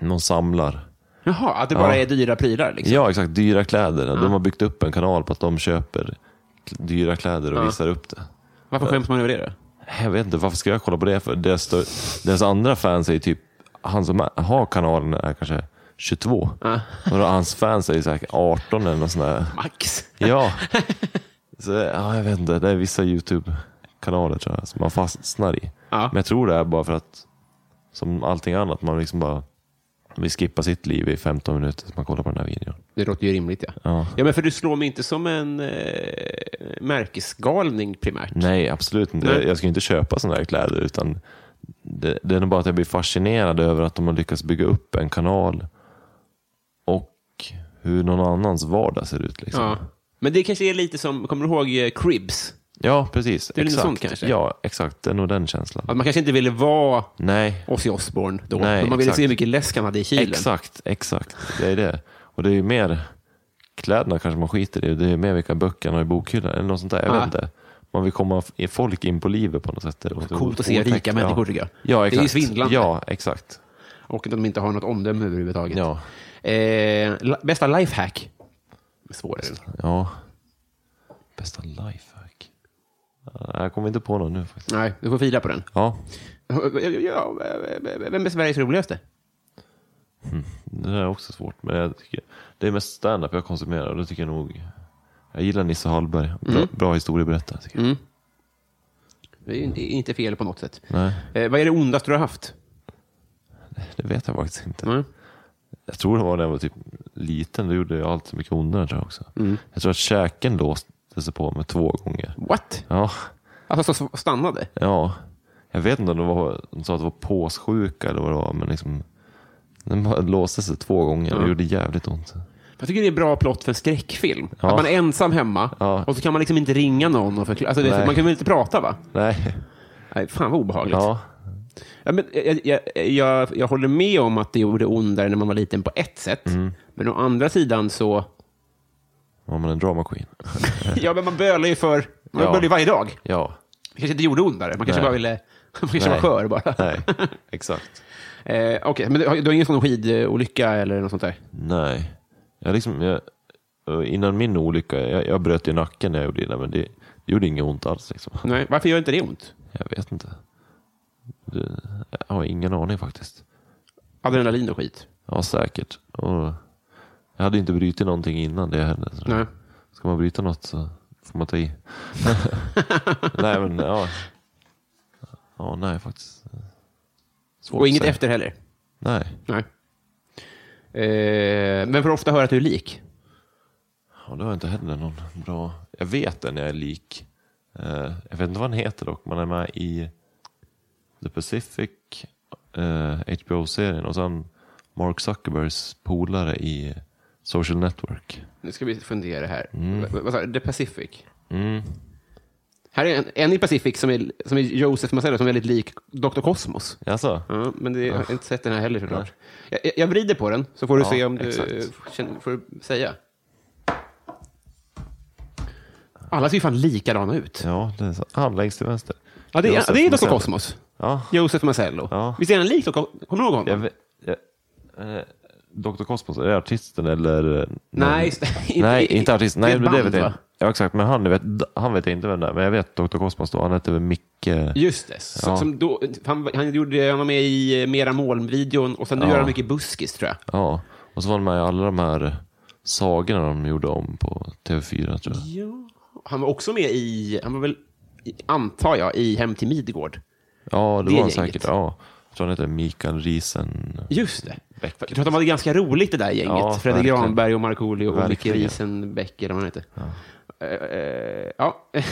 S2: någon samlar.
S1: Jaha, att det bara
S2: Ja.
S1: är dyra prylar liksom?
S2: Ja, exakt. Dyra kläder. De har byggt upp en kanal på att de köper k- dyra kläder och visar upp det.
S1: Varför skäms man över det då?
S2: Jag vet inte, varför ska jag kolla på det? För deras, stö- deras andra fans är ju typ, han som har kanalen är kanske 22. Och då hans fans är ju säkert 18 eller något sånt där.
S1: Max?
S2: Ja. Så, ja, jag vet inte, det är vissa YouTube-kanaler tror jag som man fastnar i.
S1: Ja.
S2: Men jag tror det är bara för att, som allting annat, man liksom bara vill skippa sitt liv i 15 minuter så man kollar på den här videon.
S1: Det låter ju rimligt ja.
S2: Ja.
S1: Ja, men för du slår mig inte som en eh, märkesgalning primärt.
S2: Nej, absolut inte.
S1: Nej.
S2: Jag ska inte köpa sådana här kläder. Utan det, det är nog bara att jag blir fascinerad över att de har lyckats bygga upp en kanal och hur någon annans vardag ser ut. Liksom.
S1: Ja. Men det kanske är lite som, kommer du ihåg eh, Cribs?
S2: Ja, precis.
S1: Det är lite
S2: exakt.
S1: sånt kanske?
S2: Ja, exakt. Det är nog den känslan.
S1: Att man kanske inte ville vara
S2: Nej,
S1: Ozzy Osbourne då.
S2: Nej,
S1: men man ville
S2: exakt.
S1: se hur mycket läsk han hade i kylen.
S2: exakt. Exakt. Det är det. Och det är ju mer kläderna kanske man skiter i. Det är ju mer vilka böcker man har i bokhyllan eller något sånt där. Jag
S1: Ja.
S2: vet inte. Man vill komma f- folk in på livet på något sätt. Det låter
S1: Coolt att se
S2: otäckt.
S1: rika människor, tycker jag.
S2: Ja,
S1: Det är ju
S2: exakt.
S1: svindlande.
S2: Ja, exakt.
S1: Och att de inte har något omdöme överhuvudtaget.
S2: Ja.
S1: Eh, la- bästa lifehack? Svårare.
S2: Ja. Bästa lifehack? Ja, Jag kommer inte på någon nu faktiskt.
S1: Nej, du får fila på den.
S2: Ja,
S1: Ja, Vem är Sveriges roligaste?
S2: det där är också svårt. Men jag tycker, det är mest stand-up jag konsumerar och det tycker jag nog... Jag gillar Nisse Hallberg. Bra, bra historieberättare tycker jag.
S1: Det är ju inte- inte fel på något sätt.
S2: Nej,
S1: Eh, vad är det ondaste du har haft?
S2: det vet jag faktiskt inte.
S1: Mm.
S2: Jag tror det var när jag var typ liten. Då gjorde jag allt så mycket ondare tror jag också. Jag tror att käken låste sig på mig två gånger.
S1: What?
S2: Ja,
S1: Alltså, så så stannade?
S2: ja. Jag vet inte om det var, de sa att det var påssjuka eller vad det var. Men liksom, den bara låste sig två gånger och det gjorde jävligt ont.
S1: Jag tycker det är bra plott för en skräckfilm.
S2: Ja.
S1: Att man är ensam hemma
S2: Ja.
S1: och så kan man liksom inte ringa någon och förklara. Alltså, det,
S2: Nej.
S1: man kan väl inte prata, va?
S2: Nej.
S1: Nej, fan vad obehagligt.
S2: Ja,
S1: Ja, men jag, jag, eh, jag, jag håller med om att det gjorde ondare när man var liten på ett sätt.
S2: Mm.
S1: Men å andra sidan så...
S2: var man en drama queen?
S1: Ja, men man bölar ju för... Man
S2: Ja.
S1: bölar ju varje dag.
S2: Ja.
S1: Det kanske inte gjorde ondare. Man kanske
S2: Nej.
S1: bara ville... Man kanske
S2: Nej.
S1: var skör bara.
S2: Nej, exakt.
S1: Eh, Okej, men du har, du har ingen sån skidolycka eller något sånt där?
S2: Nej. Jag liksom, jag, innan min olycka, jag, jag bröt ju nacken när jag gjorde det, men det, det gjorde inget ont alls. Liksom.
S1: Nej, varför gör inte det ont?
S2: Jag vet inte. Det, jag har ingen aning faktiskt.
S1: Adrenalin och skit.
S2: Ja, säkert. Och, jag hade ju inte brutit någonting innan det hände. Så
S1: Nej.
S2: Ska man bryta något så får man ta i. nej, men ja. Ja, nej faktiskt. Svårt
S1: Och
S2: att
S1: inget
S2: säga.
S1: efter heller?
S2: Nej.
S1: Nej. Eh, men får ofta höra att du är lik?
S2: Ja, det har inte heller någon bra... Jag vet den jag är lik. Eh, jag vet inte vad han heter dock. Man är med i The Pacific eh, HBO-serien och sen Mark Zuckerbergs polare i Social Network.
S1: Nu ska vi fundera här. Vad- Vad sa du? The Pacific? Mm. Här är en, en i Pacific som är, som är Joseph Mazzello som är väldigt lik Dr. Kosmos.
S2: Jaså?
S1: Ja, men det, jag har inte sett den här heller såklart. Jag, jag- jag vrider på den så får du
S2: Ja,
S1: se om du
S2: exakt.
S1: eh, känner, får du säga. Alla ser ju fan likadana ut. Ja,
S2: Ja, det är så. han längst till vänster.
S1: det, är,
S2: Joseph
S1: det är Dr.
S2: Mazzello.
S1: Kosmos.
S2: Ja.
S1: Joseph Mazzello.
S2: Ja.
S1: Visst är han lik Dr. Kosmos? Kommer du ihåg
S2: Jag
S1: honom?
S2: vet, jag, eh, Dr. Cosmos, är det artisten eller? eh, någon-
S1: Nej, just det. Inte-
S2: nej, inte artisten.
S1: det är
S2: Nej,
S1: ett
S2: men det vet
S1: band,
S2: jag
S1: va?
S2: inte. Ja, exakt. Men han vet, han vet jag inte vem det är. Men jag vet Dr. Cosmos då. Han heter väl Micke...
S1: Just det. Så,
S2: Ja.
S1: som då, han, han, gjorde, han var med i eh, Mera Moln-videon och sen nu
S2: Ja.
S1: gör han mycket buskis, tror jag.
S2: Ja, och så var han med i alla de här eh, sagorna de gjorde om på TV4 tror jag.
S1: Ja. Han var också med i, han var väl, i- antar jag, i Hem till Midgård.
S2: Ja, det,
S1: Det
S2: var han
S1: gänget.
S2: säkert. Ja. Jag tror han heter Mikael Riesen.
S1: Just det.
S2: Beck.
S1: Jag tror att de hade ganska roligt det där gänget.
S2: Ja,
S1: Fredrik
S2: verkligen.
S1: Granberg och Markoolio och Micke
S2: Verkligen.
S1: Riesenbeck eller vad han heter. eh, eh, ja,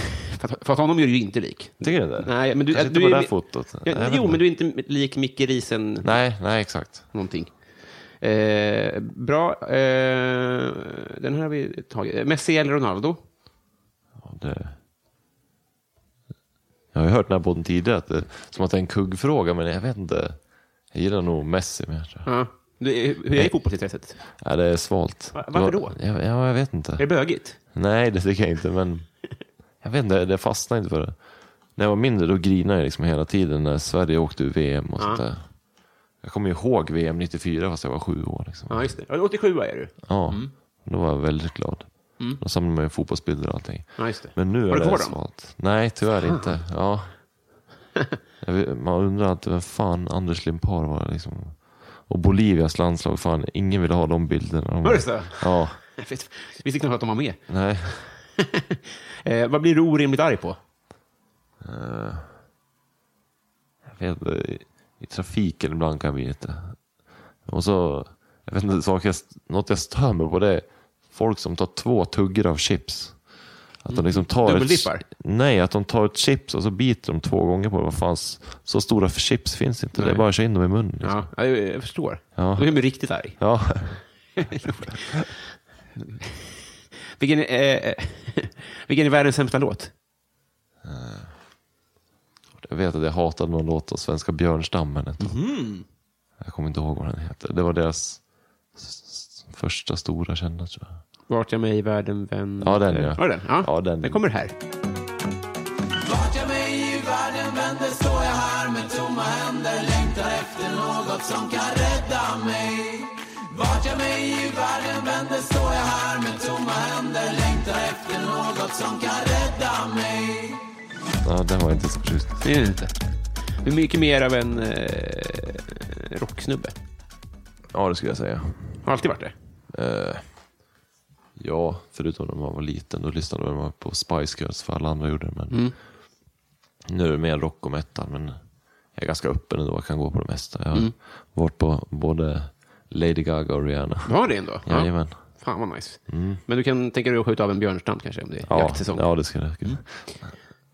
S1: fast, fast honom gör du ju inte lik.
S2: Tycker du det?
S1: Nej, men du,
S2: Kanske
S1: du
S2: inte på det
S1: är-
S2: här fotot.
S1: Ja,
S2: Jag vet
S1: jo,
S2: inte.
S1: men du är inte lik Micke Risen
S2: Nej, nej exakt.
S1: någonting. Eh, bra. Eh, den här har vi tagit. Eh, Messi eller Ronaldo?
S2: Ja, Det... Jag har ju hört den här podden tidigare, att det, som att det är en kuggfråga, men jag vet inte. Jag gillar nog Messi mer. Tror jag.
S1: Ja. Du, eh, hur är fotbollsintresset?
S2: Ja, det är svalt.
S1: Va- varför
S2: Det
S1: då?
S2: Ja, ja, jag vet inte.
S1: Är det bögigt?
S2: Nej, det tycker jag inte, men jag vet inte, det fastnar inte för det. När jag var mindre då grinade jag liksom hela tiden när Sverige åkte ur VM och sånt där. Jag kommer ju ihåg VM 94 fast jag var sju år. Liksom.
S1: Ja, Mm. just det. Ja, 87 är du.
S2: Ja, då var jag väldigt glad.
S1: Mm.
S2: Då samlade man ju fotbollsbilder och allting.
S1: Ja, just det.
S2: Men nu
S1: Har du
S2: är
S1: kvar
S2: det
S1: dem? Ah.
S2: svalt. Nej, tyvärr inte. Ja. Jag vet, man undrar alltid vem fan Anders Limpar var. Liksom. Och Bolivias landslag, fan ingen ville ha de bilderna. De
S1: Var det så?
S2: Ja,
S1: Jag vet- visste knappt att de var med.
S2: nej.
S1: Eh, vad blir du orimligt arg på?
S2: Jag vet, inte, i, I trafiken ibland kan jag bli lite... Och så, jag vet inte, saker jag, något jag stör mig på det är folk som tar två tuggor av chips. Att de liksom tar
S1: Dubbeldippar?
S2: ett, nej, att de tar ett chips och så biter de två gånger på det. Vad fan, så stora för chips finns inte. Det
S1: Nej.
S2: är bara att köra in dem i munnen. Liksom.
S1: Ja, jag, jag förstår.
S2: Ja.
S1: Då är man riktigt arg.
S2: Ja.
S1: Vilken, är- eh, vilken är världens sämsta låt?
S2: jag vet att jag hatade någon låt av svenska Björnstammen ett tag. Mhm. Jag kommer inte ihåg vad den heter. Det var deras s- s- första stora kända tror jag.
S1: Vart jag mig i världen vänder.
S2: Ja, den, ja.
S1: Var det den? Ja,
S2: Ja, den.
S1: den kommer här.
S3: Vart jag mig i världen vänder står jag här med tomma händer Längtar efter något som kan rädda mig Vart jag mig i världen vänder står jag här med tomma händer Längtar efter något som kan rädda mig
S2: Ja, den var jag inte så förtjust i.
S1: Det är den inte. Det är mycket mer av en eh, rocksnubbe.
S2: Ja, det skulle jag säga.
S1: Har alltid varit det.
S2: Eh, ja, förutom när man var liten. Då lyssnade man på Spice Girls för alla andra gjorde det. Men Nu är det mer rock och metal. Men jag är ganska öppen ändå. Jag kan gå på det mesta. Jag har varit på både Lady Gaga och Rihanna.
S1: Du har det ändå?
S2: Jajamän. Mm.
S1: Fan vad nice. Men du kan tänka dig att skjuta av en björnstam kanske om det är
S2: Ja,
S1: jaktsäsong.
S2: ja, det skulle jag.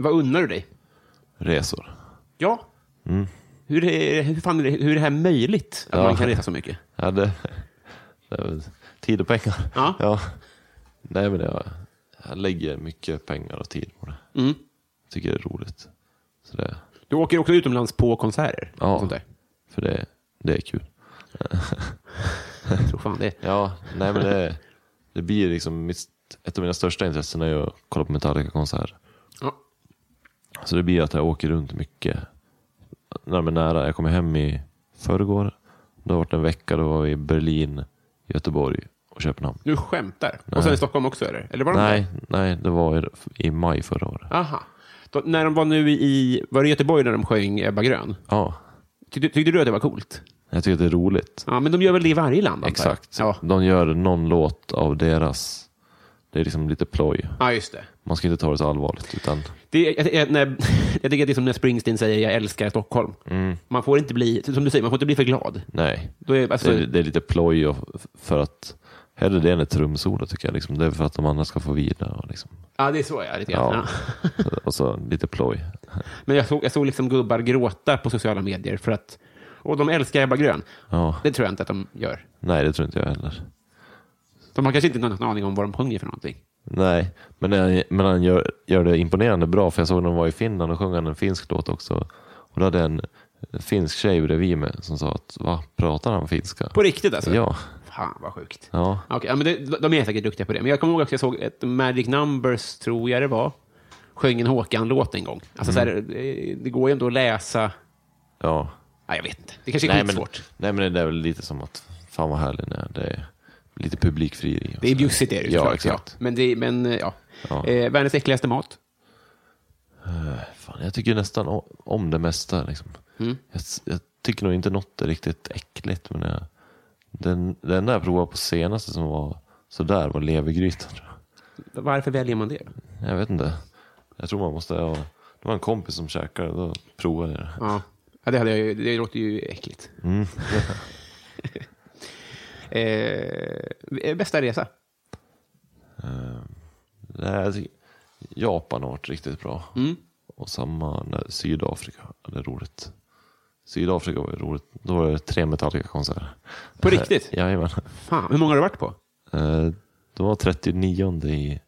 S1: Vad unnar du dig?
S2: Resor.
S1: Ja. Hur, är, hur, fan är det, hur är det här möjligt att
S2: Mm. Ja.
S1: man kan resa så mycket?
S2: Ja, det, det är väl tid och pengar.
S1: Ja.
S2: Nej, men jag, jag lägger mycket pengar och tid på det. Tycker det är roligt. Så det,
S1: Mm. Du åker också utomlands på konserter?
S2: Ja.
S1: Och sånt där.
S2: för det, det är kul.
S1: Jag tror fan det.
S2: Ja, nej men det, det blir liksom mitt, ett av mina största intressen är ju att kolla på Metallica-konserter.
S1: Ja.
S2: Så det blir att jag åker runt mycket. När men nära. Jag kom hem i förrgår. Det har varit en vecka. Då var vi i Berlin, Göteborg och Köpenhamn.
S1: Du skämtar? Och sen i Stockholm också eller? Eller var de
S2: Nej, nej, det var i, i maj förra året.
S1: där? Aha. Då, när de var nu i, var det i Göteborg när de sjöng Ebba Grön?
S2: Ja,
S1: Tyckte, tyckte du att det var coolt?
S2: jag tycker det är roligt.
S1: Ja, men de gör väl det i varje land? antar jag.
S2: Exakt.
S1: Ja.
S2: De gör någon låt av deras. Det är liksom lite ploj.
S1: ja, just det.
S2: Man ska inte ta det så allvarligt. Utan,
S1: det är, jag, jag, när, jag tycker att det är som när Springsteen säger jag älskar Stockholm.
S2: Mm.
S1: Man får inte bli, som du säger, man får inte bli för glad.
S2: nej,
S1: Då är, alltså,
S2: det, är- det är lite ploj och f- för att hellre det än ett trumsolo tycker jag. Liksom. Det är för att de andra ska få vila. Och, liksom.
S1: Ja, det är så ja, lite grann.
S2: ja.
S1: Ja.
S2: och så lite ploj.
S1: Men jag såg, jag såg liksom gubbar gråta på sociala medier för att och de älskar Ebba Grön.
S2: Ja.
S1: Det tror jag inte att de gör.
S2: Nej, det tror inte jag heller.
S1: De har kanske inte någon aning om vad de sjunger för någonting.
S2: Nej, men han, men han gör, gör det imponerande bra. För jag såg när de var i Finland och sjöng han en finsk låt också. Och då hade en finsk tjej bredvid mig som sa att va, pratar han finska?
S1: På riktigt alltså?
S2: Ja.
S1: Fan vad sjukt.
S2: Ja.
S1: Okej, ja, men det, de är säkert duktiga på det. Men jag kommer ihåg att jag såg ett Magic Numbers, tror jag det var, sjöng en Håkan-låt en gång. Alltså, så
S2: Mm.
S1: här, det, det går ju ändå att läsa.
S2: ja.
S1: Nej, jag vet inte. Det kanske är
S2: Nej, men,
S1: skitsvårt.
S2: nej, men det är väl lite som att fan vad härlig ni är. Det är lite publikfrieri. och
S1: Det är
S2: så.
S1: bjussigt är det ju
S2: Ja,
S1: såklart,
S2: exakt.
S1: Men, det, men eh, ja.
S2: Ja.
S1: Eh, världens äckligaste mat?
S2: Fan, jag tycker nästan o- om det mesta. Liksom.
S1: Mm.
S2: Jag, s- jag tycker nog inte något är riktigt äckligt. Men jag, den, den enda jag provade på senaste som var sådär var levergrytan. tror jag.
S1: Varför väljer man det?
S2: Jag vet inte. Jag tror man måste ha... Det var en kompis som käkade då provade jag det.
S1: Ja, ja det, hade jag, ju- det låter ju äckligt.
S2: Mm.
S1: eh, bästa resa?
S2: Ehm, Nej, jag tycker Japan har varit riktigt bra.
S1: Mm.
S2: Och samma när Sydafrika, det är roligt. Sydafrika var ju roligt. Då var det tre Metallica-konserter.
S1: På riktigt?
S2: Jajamän.
S1: Fan, hur många har du varit på?
S2: Eh, Det var 39 i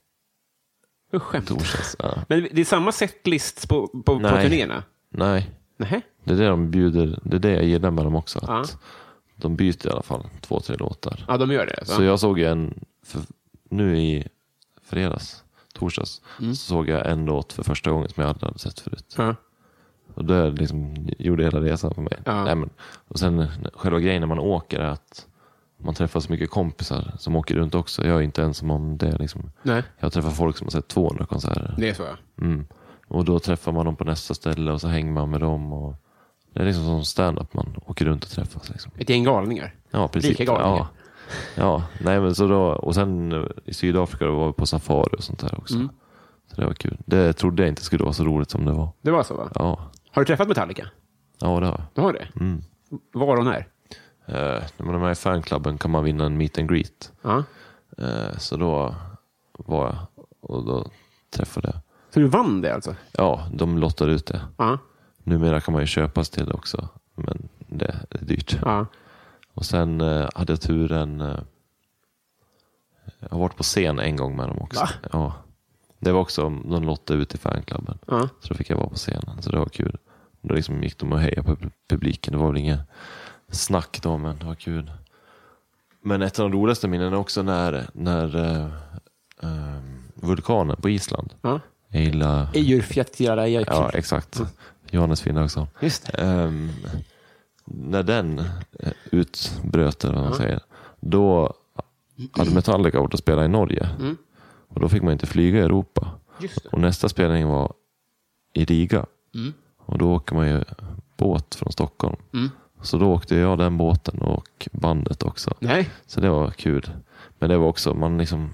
S1: Usch, Skämt.
S2: torsdags. Ja.
S1: Men det är samma setlist på, på, på
S2: Nej.
S1: turnéerna?
S2: Nej,
S1: Nähä?
S2: det är det de bjuder. Det är det jag gillar med dem också. Att
S1: Ja.
S2: De byter i alla fall två, tre låtar.
S1: Ja, de gör det.
S2: Så jag såg en, för, nu i fredags, torsdags,
S1: Mm.
S2: så såg jag en låt för första gången som jag aldrig hade sett förut.
S1: Ja.
S2: Och det liksom gjorde hela resan för mig.
S1: Ja.
S2: Nej, men, och sen själva grejen när man åker är att man träffar så mycket kompisar som åker runt också. Jag är inte ensam om det. Liksom.
S1: Nej,
S2: Jag träffar folk som har sett 200 konserter.
S1: det är så. ja.
S2: Mm. Och då träffar man dem på nästa ställe och så hänger man med dem. Och det är liksom som stand-up, man åker runt och träffas. Liksom.
S1: Ett gäng galningar.
S2: Ja, precis.
S1: Lika galningar.
S2: Ja. ja, nej men så då, och sen eh, i Sydafrika då var vi på safari och sånt där också.
S1: Mm.
S2: Så det var kul. Det trodde jag inte skulle vara så roligt som det var.
S1: Det var så, va?
S2: Ja,
S1: Har du träffat Metallica?
S2: ja det Mm. har
S1: Du har det? Var och när?
S2: jag. Eh, När man är med i fanklubben kan man vinna en meet and greet.
S1: Ja.
S2: Eh, Så då var jag och då träffade jag.
S1: Så du vann det alltså?
S2: Ja, de lottade ut det.
S1: Ja.
S2: Numera kan man ju köpas till det också, men det är dyrt.
S1: ja.
S2: Och sen eh, hade jag turen... Eh, jag har varit på scen en gång med dem också.
S1: Va?
S2: Ja. Det var också, de lottade ut i fanklubben.
S1: Ja.
S2: Så då fick jag vara på scenen, så det var kul. Då liksom gick de och hejade på pub- publiken. Det var väl inget snack då, men det var kul. Men ett av de roligaste minnen är också när, när eh, eh, vulkanen på Island.
S1: ja.
S2: Jag gillar...
S1: Ejurfjättjalajajk.
S2: Ja, exakt. Johannes Finnlaugsson.
S1: Just det.
S2: Ehm, när den eh, utbröt, eller vad man säger, då hade Metallica varit och spelat i Norge. Och då fick man inte flyga i Europa.
S1: Mm. Just det. Mm.
S2: Och nästa spelning var i Riga. Och då åker man ju båt från Stockholm. Så då åkte jag den båten och bandet också.
S1: Nej.
S2: Så det var kul. Men det var också, man liksom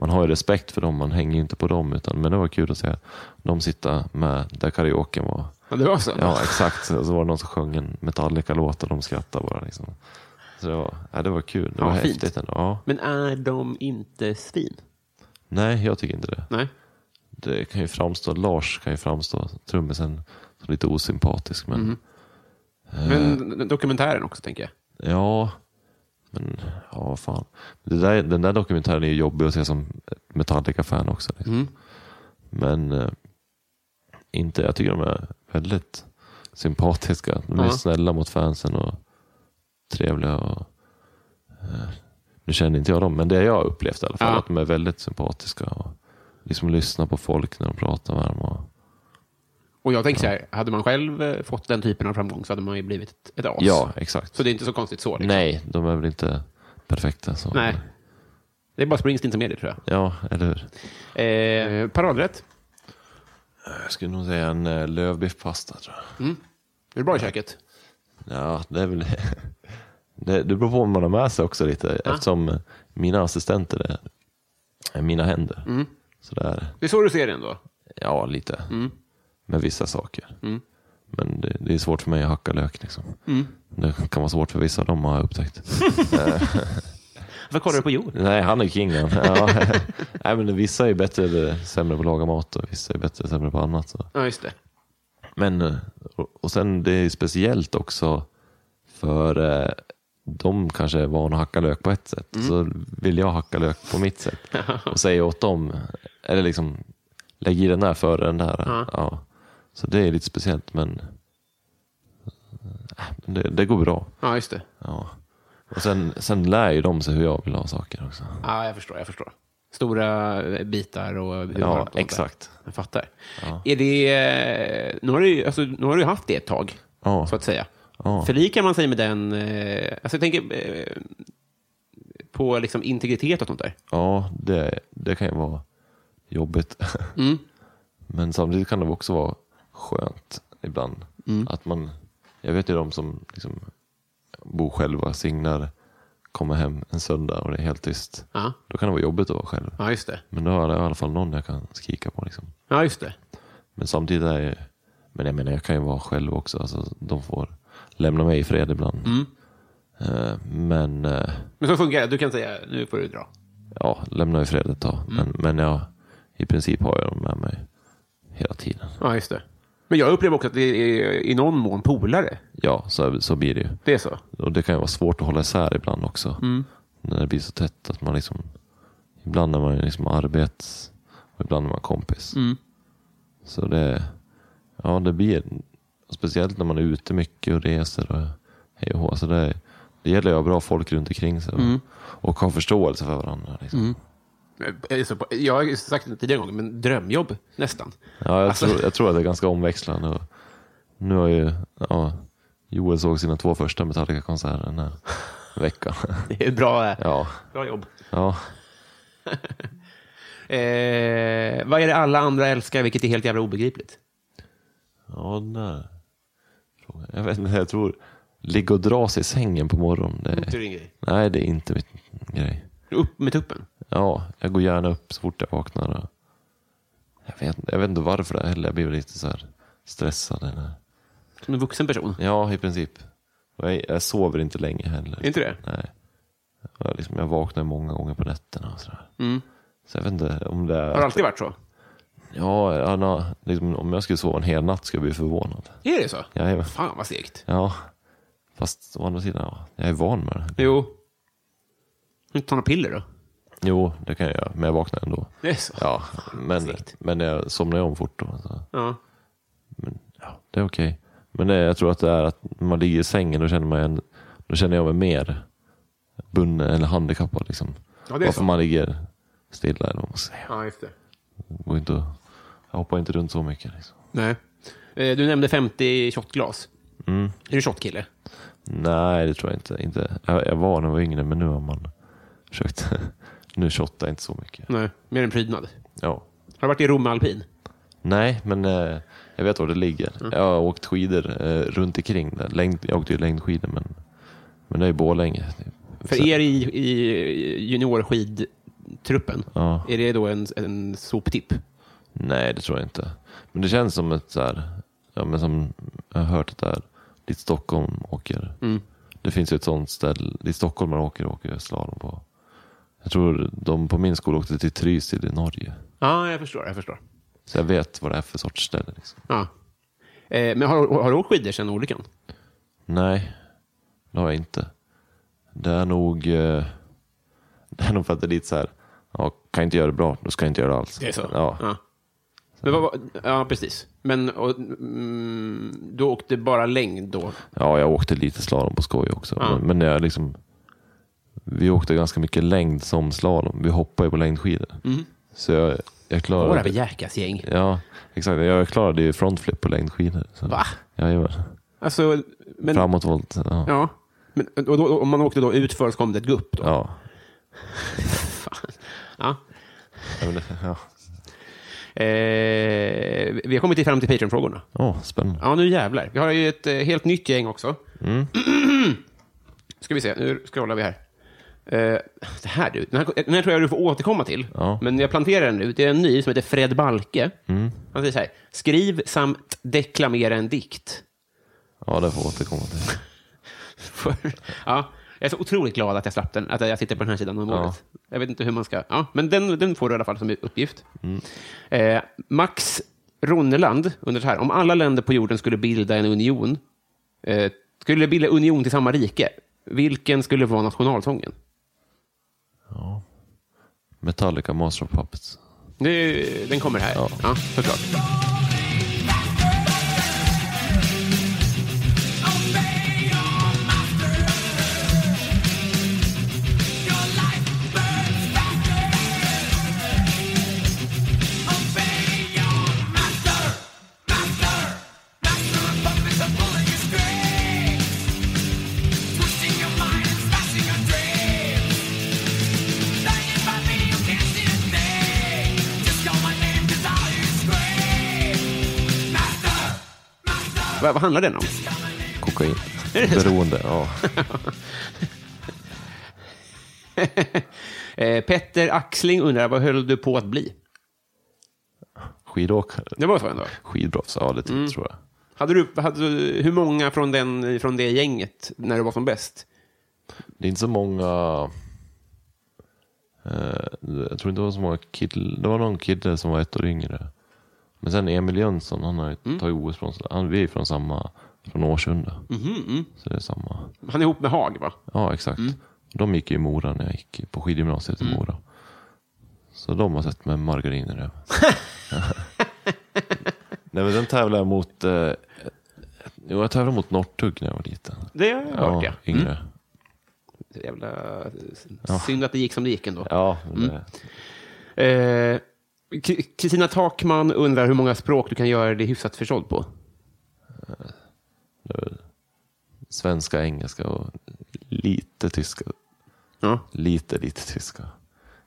S2: man har ju respekt för dem, man hänger ju inte på dem. Utan, men det var kul att se dem sitta med där karaoken var.
S1: Ja, det var så?
S2: Ja, exakt. Och så var det någon som sjöng en Metallica-låt och de skrattade bara. Liksom. Så det var, ja, det var kul. Det
S1: Ja,
S2: var
S1: fint.
S2: häftigt ändå. Ja.
S1: Men är de inte svin?
S2: Nej, jag tycker inte det.
S1: Nej.
S2: det kan ju framstå, Lars kan ju framstå, trummisen, som lite osympatisk. Men
S1: Mhm. Mm. Men dokumentären också, tänker jag.
S2: ja, men ja, vad fan. Det där, den där dokumentären är ju jobbig att se som Metallica-fan också. Liksom.
S1: Mm.
S2: Men eh, inte, jag tycker de är väldigt sympatiska. De är
S1: Ja.
S2: snälla mot fansen och trevliga. Och, eh, nu känner inte jag dem, men det jag har upplevt i alla fall,
S1: Ja.
S2: att de är väldigt sympatiska. Och, liksom lyssnar på folk när de pratar med dem. Och,
S1: Och jag tänker så här, hade man själv eh, fått den typen av framgång så hade man ju blivit ett, ett as.
S2: ja, exakt.
S1: Så det är inte så konstigt så. Liksom.
S2: Nej, de är väl inte perfekta. Så.
S1: Nej. Det är bara Springsteen som är det, tror jag.
S2: Ja, eller hur?
S1: Eh, paradrätt.
S2: Jag skulle nog säga en eh, lövbiffpasta. Tror jag.
S1: Är det bra i köket?
S2: Ja, det är väl... det, det beror på vad man har med sig också lite. Eftersom eh, mina assistenter är, är mina händer. Så där,
S1: Det är så du ser det ändå?
S2: ja, lite. Med vissa saker. Men det, det är svårt för mig att hacka lök. Liksom. Det kan vara svårt för vissa av dem har jag upptäckt.
S1: Varför kollar du på jord?
S2: Nej, han är kingen. Ja. Nej, men vissa är bättre eller sämre på att laga mat och vissa är bättre eller sämre på annat. Så.
S1: Ja, just det.
S2: Men, eh, och- och sen det är ju speciellt också för eh, de kanske är vana att hacka lök på ett sätt. Så vill jag hacka lök på mitt sätt. Och säga åt dem, eller liksom lägg i den där före den där. Ja. Så det är lite speciellt men, eh, men det, det går bra.
S1: Ja, just det.
S2: Ja. Och sen, sen lär ju de sig hur jag vill ha saker också.
S1: Ja, jag förstår. jag förstår. Stora eh, bitar och hur varmt och
S2: Ja,
S1: sånt där.
S2: exakt.
S1: Jag fattar. Är det, eh, nu, har du, ju- alltså, nu har du ju haft det ett tag,
S2: Ja.
S1: så att säga.
S2: Ja.
S1: Förlikar man sig med den... Eh, alltså jag tänker eh, på liksom integritet och sånt där.
S2: Ja, det, det kan ju vara jobbigt. Men samtidigt kan det också vara skönt ibland. Att man, jag vet ju de som liksom bor själva, singlar, kommer hem en söndag och det är helt tyst.
S1: Ja,
S2: Då kan det vara jobbigt att vara själv.
S1: ja just det.
S2: Men då har jag i alla fall någon jag kan skrika på. Liksom.
S1: Ja, just det.
S2: Men samtidigt är jag, men jag menar jag kan ju vara själv också. Alltså, de får lämna mig i fred ibland. Eh, men eh,
S1: Men så funkar det. Du kan säga nu får du dra.
S2: ja, lämnar i fred ett tag. Men, men jag, i princip har jag dem med mig hela tiden.
S1: Ja, just det. Men jag upplever också att det är i någon mån polare.
S2: Ja, så, så blir det ju.
S1: Det är så.
S2: Och det kan ju vara svårt att hålla isär ibland också. När det blir så tätt att man liksom... Ibland är man ju liksom arbets och ibland är man kompis. Så det... Ja, det blir... Speciellt när man är ute mycket och reser och hej och hå. Så det, det gäller ju att ha bra folk runt omkring sig. Och, ha förståelse för varandra. Liksom.
S1: Eh, så på- Jag har ju sagt det tidigare gånger, men drömjobb nästan.
S2: Ja, jag,
S1: Alltså-
S2: tror, jag tror att det är ganska omväxlande. Och nu har ju ja, Joel såg sina två första Metallica-konserter den här veckan.
S1: Det är bra, eh,
S2: Ja,
S1: bra jobb.
S2: ja,
S1: Eh, vad är det alla andra älskar, vilket är helt jävla obegripligt?
S2: ja den där. frågan. Jag vet inte, jag tror ligga och dra sig i sängen på morgonen. Det
S1: Det är
S2: är,
S1: din grej.
S2: nej, det är inte min grej.
S1: Upp med tuppen.
S2: Ja, jag går gärna upp så fort jag vaknar. Och jag, vet, jag vet inte varför det är heller. Jag blir väl lite så här stressad. Eller.
S1: Som en vuxen person.
S2: Ja, i princip. Och jag, jag sover inte länge heller.
S1: Inte det?
S2: Nej. Jag, liksom, jag vaknar många gånger på nätterna och sådär. Så jag vet inte om det är...
S1: Mm. Har det alltid varit så?
S2: Ja, Anna, liksom, om jag skulle sova en hel natt skulle jag bli förvånad.
S1: Är det så?
S2: Jajamän.
S1: Fan vad segt.
S2: Ja. Fast å andra sidan, ja, jag är van med det.
S1: Jo. Får Inte ta några piller då?
S2: Jo, det kan jag göra, men jag vaknar ändå.
S1: Det är så?
S2: Ja, men,
S1: segt.
S2: men jag somnar ju om fort då. Så.
S1: Ja.
S2: Ja, det är okej. Men det, jag tror att det är att när man ligger i sängen, då känner, man en, då känner jag mig mer bunden eller handikappad. Liksom.
S1: Ja, det är
S2: Varför
S1: så.
S2: man ligger stilla eller vad man ska säga.
S1: ja, just det.
S2: går inte att, jag hoppar inte runt så mycket. Liksom.
S1: Nej. Eh, Du nämnde 50 shotglas. Är du shotkille?
S2: Nej, det tror jag inte. inte. Jag, jag var när jag var yngre, men nu har man försökt. nu shottar jag inte så mycket.
S1: Nej. Mer en prydnad.
S2: Ja.
S1: Har du varit i Rom med alpin?
S2: Nej, men eh, jag vet var det ligger. Jag har åkt skidor eh, runt omkring där. Längd, jag åkte ju längdskidor, men, men det är ju Borlänge.
S1: För
S2: Så-
S1: er i, i juniorskidtruppen,
S2: Ja.
S1: är det då en, en soptipp?
S2: Nej, det tror jag inte. Men det känns som ett så här, ja, men som jag har hört att det är dit Stockholm åker. Det finns ju ett sånt ställe dit stockholmare åker åker slalom på. Jag tror de på min skola åkte till Trysil i Norge.
S1: Ja, jag förstår. Jag förstår.
S2: Så jag vet vad det är för sorts ställe. Liksom.
S1: Ja. Eh, men har, har du åkt skidor sedan olyckan?
S2: Nej, det har jag inte. Det är nog, eh, det är nog för att det är lite så här, ja, kan jag inte göra det bra, då ska jag inte göra det alls. Ja,
S1: ja. Men vad, var- ja, precis. Men och, mm, du åkte bara längd då?
S2: Ja, jag åkte lite slalom på skoj också.
S1: Ja.
S2: Men, men jag liksom, vi åkte ganska mycket längd som slalom. Vi hoppade ju på längdskidor. Så jag, jag
S1: Mm. Vad var det
S2: klarade...
S1: här för jäklas gäng?
S2: ja, exakt. Jag klarade ju frontflip på längdskidor. Så.
S1: Va?
S2: Jajamän.
S1: Alltså, men,
S2: Framåtvolt. Ja. Ja.
S1: ja. Men, och då, om man åkte då utför så kom det ett gupp då?
S2: Ja.
S1: Fan. Ja.
S2: men det- ja.
S1: Eh, vi har kommit fram till Patreon-frågorna.
S2: Åh, spännande.
S1: Ja, nu jävlar. Vi har ju ett eh, helt nytt gäng också. ska vi se, nu scrollar vi här. Eh, det här, du, den, här, den här tror jag du får återkomma till,
S2: Ja.
S1: men jag planterar den nu. Det är en ny som heter Fred Balke. Han säger så här, skriv samt deklamera en dikt.
S2: Ja, det får jag återkomma till.
S1: För, ja, jag är så otroligt glad att jag slapp den, att jag sitter på den här sidan om
S2: Ja.
S1: året. Jag vet inte hur man ska... Ja, men den, den får du i alla fall som uppgift. Eh, Max Ronneland undrar så här, om alla länder på jorden skulle bilda en union, eh, skulle bilda union till samma rike, vilken skulle vara nationalsången?
S2: Metallica, Master of Puppets.
S1: Nu, den kommer här. Ja.
S2: Ja.
S1: såklart. Vad, vad handlar den om?
S2: Kokain. Beroende. Ja.
S1: Eh, Petter Axling undrar, vad höll du på att bli?
S2: Skidåkare.
S1: Det var så ändå.
S2: Skidproffs. Ja, det
S1: Mm.
S2: tror jag.
S1: Hade du, hade du, hur många från, den, från det gänget när du var som bäst?
S2: Det är inte så många... Eh, Jag tror inte det var så många kill, Det var någon kille som var ett år yngre. Men sen Emil Jönsson, han har ju tagit OS-brons. Han- Vi är från samma, från Årsunda.
S1: Mm.
S2: Så det är samma.
S1: Han är ihop med Haag, va?
S2: Ja, exakt. De gick ju i Mora när jag gick på skidgymnasiet i Mora. Så de har sett med margarin i röven. Nej, men den tävlade jag mot... Eh, jo, jag tävlade mot Northug när jag var liten.
S1: Det har jag hört, ja.
S2: Yngre.
S1: Jävla... Synd att det gick som det gick ändå.
S2: Ja, det,
S1: Eh, K- Kristina Takman undrar hur många språk du kan göra dig hyfsat förstådd på.
S2: svenska, engelska och lite tyska.
S1: Ja.
S2: Lite, lite tyska.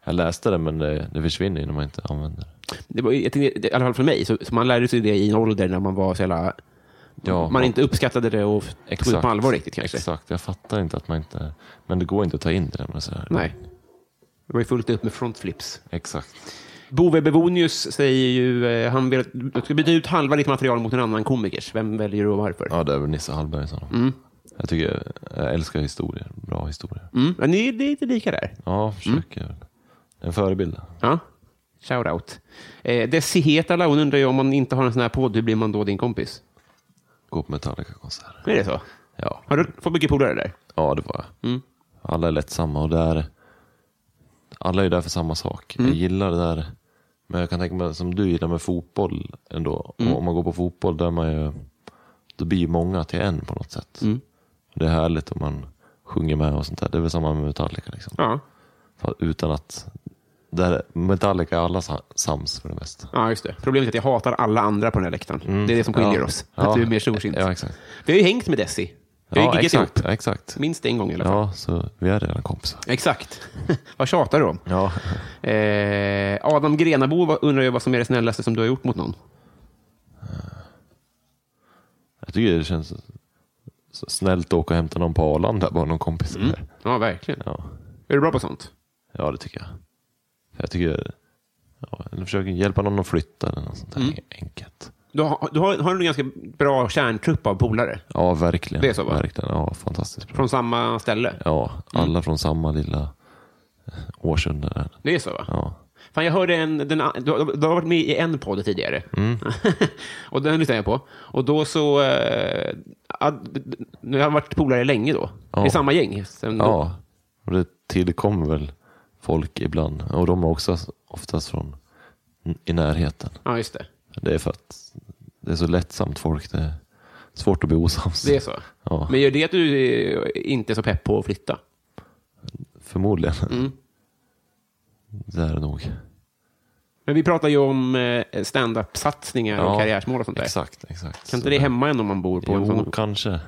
S2: Jag läste det, men det, det försvinner ju när man inte använder det.
S1: Det var, jag tänkte, I alla fall för mig, så, så man lärde sig det i en ålder när man var så jävla...
S2: Ja,
S1: man inte uppskattade det och tog det på allvar riktigt kanske.
S2: Exakt, jag fattar inte att man inte... Men det går inte att ta in det när man är sådär.
S1: Nej. Det var ju fullt upp med frontflips.
S2: Exakt.
S1: Bove Bevonius säger ju eh, han vill att du ska byta ut halva ditt material mot en annan komikers. Vem väljer du och varför?
S2: Ja, det är väl Nisse Hallberg som. Jag, tycker, jag älskar historier, bra historier.
S1: Mm. Men ni är lite lika där.
S2: Ja,
S1: Mm.
S2: försöker. En förebild.
S1: Ja. Shoutout. Eh, Desi Hetala, hon undrar ju om man inte har en sån här podd, hur blir man då din kompis?
S2: Gå på Metallica-konserter.
S1: Är det så?
S2: Ja.
S1: Har du fått mycket polare där?
S2: ja, det var jag.
S1: Mm.
S2: Alla är lättsamma och där, alla är där för samma sak.
S1: Mm.
S2: Jag gillar det där, men jag kan tänka mig som du gillar med fotboll ändå.
S1: Mm.
S2: Och Om man går på fotboll, där man ju, då blir ju många till en på något sätt.
S1: Mm.
S2: Det är härligt om man sjunger med och sånt där. Det är väl samma med Metallica. Liksom.
S1: Ja.
S2: Fa- Utan att, där Metallica är alla sa- sams för det mesta.
S1: Ja, just det. Problemet är att jag hatar alla andra på den här läktaren. Det är det som skiljer
S2: Mm. Ja.
S1: oss.
S2: Ja.
S1: Att du är mer storsint.
S2: Ja, exakt.
S1: Vi har ju hängt med Desi. Vi har ju
S2: Ja,
S1: giggat ihop.
S2: exakt. exakt.
S1: Minst en gång i alla fall.
S2: Ja, så vi är redan kompisar.
S1: Exakt. vad tjatar du om?
S2: Ja.
S1: Eh, Adam Grenabo vad- undrar ju vad som är det snällaste som du har gjort mot någon.
S2: Jag tycker det känns så snällt att åka och hämta någon på Arlanda, bara någon kompis.
S1: Mm.
S2: där.
S1: Ja, verkligen.
S2: Ja.
S1: Är du bra på sånt?
S2: ja, det tycker jag. För jag tycker, ja, eller försöka hjälpa någon att flytta eller något sånt där
S1: Mm.
S2: enkelt.
S1: Du har, du har, har en ganska bra kärntrupp av polare
S2: Ja, verkligen.
S1: Det är så, va?
S2: Verkligen, ja, fantastiskt bra.
S1: från Mm. samma ställe.
S2: Ja, alla från samma lilla eh, Årsunda där.
S1: Det är så, va?
S2: Ja.
S1: Fan, jag hörde en, den, du, har- du har varit med i en podd tidigare.
S2: Mm.
S1: och den lyssnade jag på. Och då så... Eh, ad, nu har jag varit polare länge då.
S2: Ja.
S1: Det är samma gäng. Sen då.
S2: Ja, och det tillkommer väl folk ibland. Och de är också oftast från i närheten.
S1: ja, just det.
S2: Det är för att det är så lättsamt folk. Det är svårt att bli osams.
S1: Det är så.
S2: Ja,
S1: Men gör det att du eh, inte är så pepp på att flytta?
S2: förmodligen.
S1: Mm.
S2: Det är det nog.
S1: Men vi pratar ju om eh, stand-up-satsningar och karriärsmål och sånt där.
S2: Exakt, exakt.
S1: Kan
S2: Så
S1: inte det hämma en om man bor på en
S2: Jo,
S1: sån?
S2: kanske.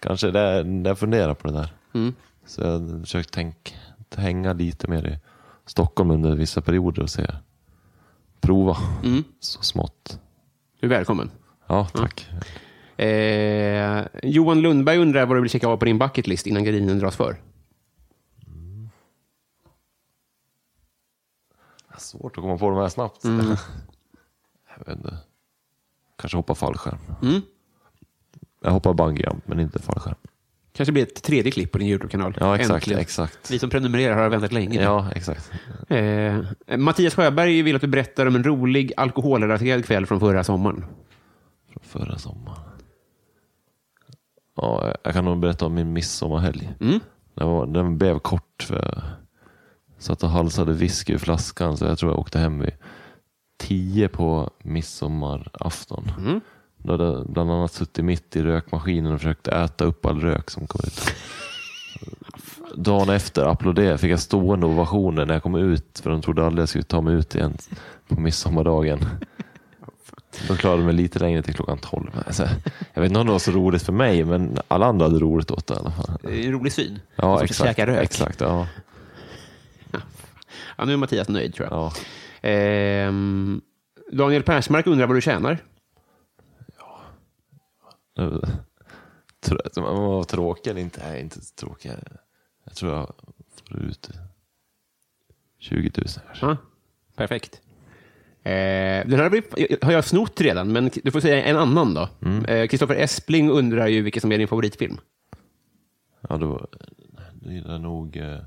S2: Kanske. Det är, det jag funderar på det där.
S1: Mm.
S2: Så jag har försökt tänk, hänga lite mer i Stockholm under vissa perioder och se. Prova
S1: Mm.
S2: så smått.
S1: Du är välkommen. Mm.
S2: Ja, tack.
S1: Eh, Johan Lundberg undrar vad du vill checka av på din bucketlist innan gardinen dras för.
S2: Svårt att komma på de här snabbt.
S1: Mm.
S2: Jag vet inte. Kanske hoppa fallskärm.
S1: Mm.
S2: Jag hoppar bungyjump, men inte fallskärm.
S1: Kanske blir ett tredje klipp på din YouTube-kanal.
S2: Ja, exakt.
S1: Äntligen.
S2: exakt.
S1: Vi som prenumererar har väntat länge.
S2: Ja, exakt.
S1: Eh, Mattias Sjöberg vill att du berättar om en rolig alkoholrelaterad kväll från förra sommaren.
S2: Från förra sommaren. Ja, jag kan nog berätta om min midsommarhelg. Den, var, den blev kort. För jag satt och halsade whisky ur flaskan så jag tror jag åkte hem vid tio på midsommarafton. Då hade jag bland annat suttit mitt i rökmaskinen och försökt äta upp all rök som kom ut. Dagen efter applåderade fick jag stående ovationer när jag kom ut för de trodde aldrig jag skulle ta mig ut igen på midsommardagen. De klarade mig lite längre till klockan 12. Alltså, jag vet inte om det var så roligt för mig, men alla andra hade roligt åt det i alla fall.
S1: Det är En rolig syn.
S2: Ja,
S1: Som ska
S2: exakt.
S1: käka rök.
S2: exakt ja,
S1: Ja, nu är Mattias nöjd tror jag.
S2: ja.
S1: Ehm, Daniel Persmark undrar vad du tjänar.
S2: Trö- Man var tråkig eller inte? Nej, inte tråkig. Jag tror jag får ut 20 000 kanske.
S1: Ja, perfekt. Eh, den här blir- har jag snott redan, men du får säga en annan då. Kristoffer Espling undrar ju vilken som är din favoritfilm.
S2: Ja, då, då gillar jag nog eh,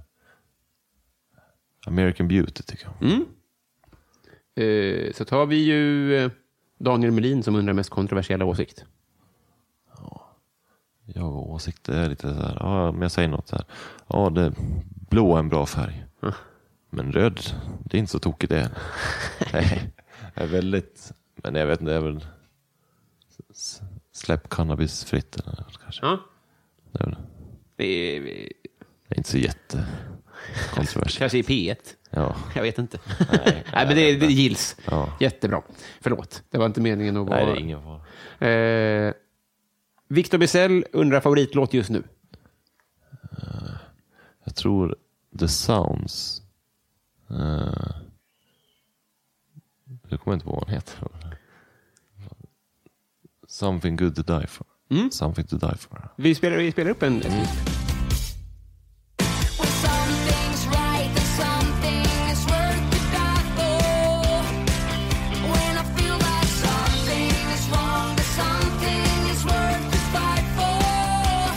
S2: American Beauty tycker jag.
S1: Eh, så tar vi ju eh, Daniel Melin som undrar mest kontroversiella åsikt.
S2: Jag och åsikter är lite så här. Ja, om jag säger något så här. Ja, det, blå är en bra färg. Men röd, det är inte så tokigt det. Nej, jag är väldigt, men jag vet inte, det är väl s- släpp cannabis fritt eller något kanske.
S1: Ja.
S2: Det är väl
S1: Det är,
S2: det är inte så jätte
S1: kanske i P1.
S2: Ja,
S1: Jag vet inte. Nej, men det, det gills.
S2: Ja.
S1: Jättebra. Förlåt, det var inte meningen att
S2: nej det
S1: vara...
S2: är ingen fara.
S1: Eh, Victor Bizell undrar favoritlåt just nu.
S2: Jag tror The Sounds. eh, nu kommer jag inte på vad den heter. Something good to die for. Something to die for.
S1: Vi spelar, vi spelar upp en... en
S2: Mm.
S1: snutt.
S4: When something's right, then something is worth the die for. When I feel like something is wrong, then something is worth the fight for.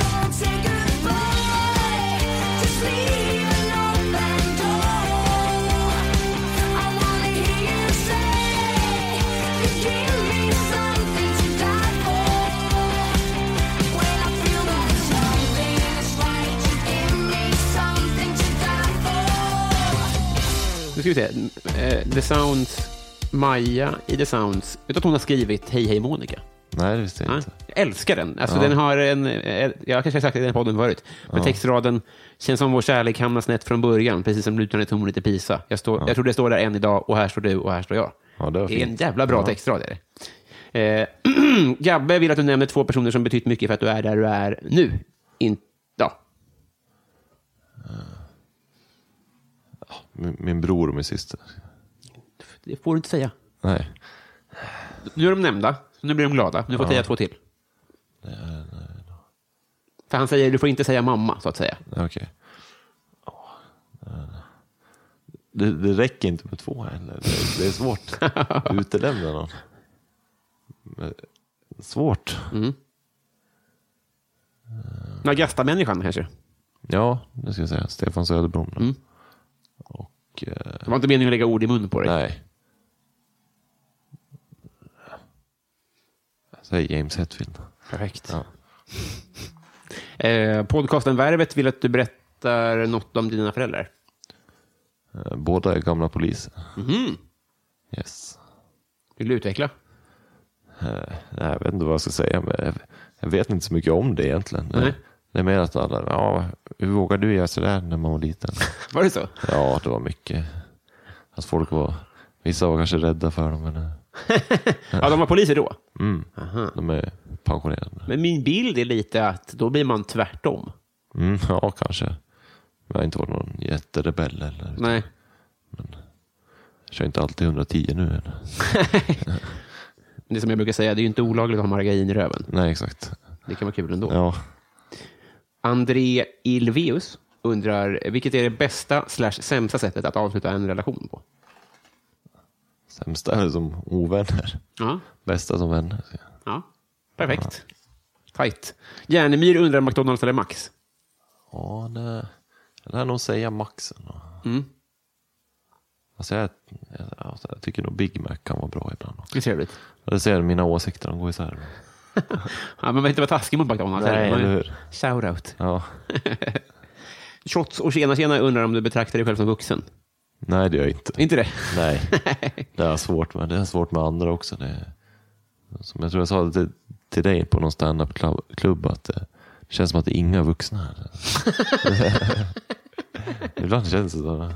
S4: Don't say goodbye, just leave an open door. I wanna hear you say, "You give me something to die for." When I feel that something is right, you give me something to die for.
S1: Nu ska vi se. Eh, The Sounds... Maja i The Sounds. Vet du att hon har skrivit Hej hej Monica?
S2: Nej, det visste jag
S1: Ja,
S2: inte.
S1: jag älskar den. Alltså,
S2: Ja.
S1: den har en, eh, jag kanske har sagt det i den här podden förut, men textraden känns som vår kärlek hamnar snett från början, precis som lutande tornet i Pisa. Jag, står, jag tror det står där än idag och här står du och här står jag.
S2: Ja, det var
S1: är en
S2: fint.
S1: jävla bra
S2: Ja.
S1: textrad. Är det. Eh, Gabbe vill att du nämner två personer som betytt mycket för att du är där du är nu. In, ja.
S2: Min, min bror och min syster.
S1: Det får du inte säga.
S2: Nej.
S1: Nu är de nämnda, så nu blir de glada. Nu får jag säga två till. För han säger du får inte säga mamma, så att säga.
S2: Okej. Åh, eh, Det, det räcker inte med två heller. Det, det är svårt. Utelämna någon. Men- Svårt.
S1: Nagasta-människan kanske.
S2: Ja, det ska jag säga. Stefan Söderblom. då. Och, eh,
S1: Det var inte meningen att lägga ord i mun på dig.
S2: nej. Jag säger James Hetfield.
S1: Perfekt.
S2: Ja.
S1: Eh, podcasten Värvet vill att du berättar något om dina föräldrar.
S2: Eh, Båda är gamla poliser. Yes.
S1: Vill du utveckla?
S2: Nej, jag vet inte vad jag ska säga. Men jag- jag vet inte så mycket om det egentligen.
S1: Nej.
S2: Det är mer att alla, ja, hur vågar du göra sådär när man var liten?
S1: Var det så?
S2: ja, det var mycket. Att folk var, vissa var kanske rädda för dem, men eh,
S1: Ja, de var poliser då.
S2: de är pensionerade nu.
S1: Men min bild är lite att då blir man tvärtom.
S2: Mm, ja, kanske. Men jag har inte varit någon jätterebell eller.
S1: Nej.
S2: Jag kör inte alltid 110 nu än.
S1: Det som jag brukar säga, det är ju inte olagligt att ha margarin i röven.
S2: Nej, exakt.
S1: Det kan vara kul ändå.
S2: Ja.
S1: André Ilveus undrar, vilket är det bästa slash sämsta sättet att avsluta en relation på?
S2: Sämsta är som ovänner.
S1: Ja,
S2: Bästa som vänner.
S1: ja. perfekt. Tajt. Järnemyr undrar McDonalds eller Max?
S2: Ja, det... Jag lär nog säga maxen.
S1: Mm.
S2: Alltså jag, jag, alltså jag tycker nog Big Mac kan vara bra ibland. också.
S1: Det är trevligt.
S2: Det ser mina åsikter, de går isär.
S1: Ja, men man vill inte vara taskig mot McDonalds.
S2: Nej,
S1: heller. Man-
S2: eller hur?
S1: Shoutout.
S2: Ja.
S1: Shots och tjena tjena undrar om du betraktar dig själv som vuxen.
S2: Nej, det gör jag inte.
S1: Inte det?
S2: Nej, det är svårt med. Det är svårt med andra också. Det är, som jag tror jag sa till, till dig på någon standup-klubb att det, det känns som att det är inga vuxna här. Ibland känns det så.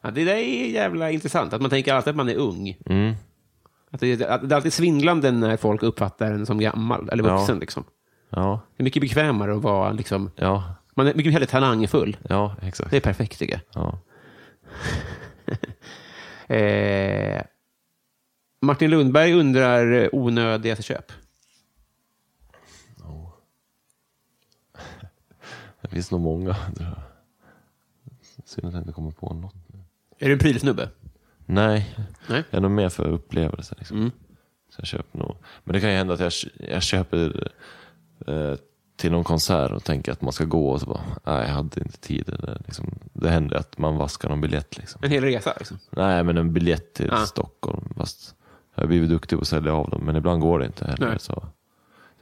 S1: Ja, det där är jävla intressant, att man tänker alltid att man är ung.
S2: Mm.
S1: Att det, att det är alltid svindlande när folk uppfattar en som gammal, eller vuxen.
S2: Ja.
S1: Liksom.
S2: Ja,
S1: Det är mycket bekvämare att vara, liksom,
S2: ja,
S1: man är mycket hellre talangfull.
S2: ja,
S1: Det är
S2: exakt.
S1: perfekt tycker jag.
S2: Ja.
S1: Eh, Martin Lundberg undrar eh, onödigaste köp.
S2: Det finns nog många. Tror jag. Synd att jag inte kommer på något. nu.
S1: Är du en prylsnubbe?
S2: Nej,
S1: Nej. Mm.
S2: jag är nog mer för upplevelser. Liksom. Så jag köper nog. Men det kan ju hända att jag, jag köper eh, till någon konsert och tänker att man ska gå och så bara, nej jag hade inte tid. Eller, liksom, det händer att man vaskar någon biljett. Liksom.
S1: En hel resa liksom.
S2: Nej, men en biljett till
S1: Ja.
S2: Stockholm. Fast jag har blivit duktig på att sälja av dem, men ibland går det inte heller.
S1: Nej.
S2: Så.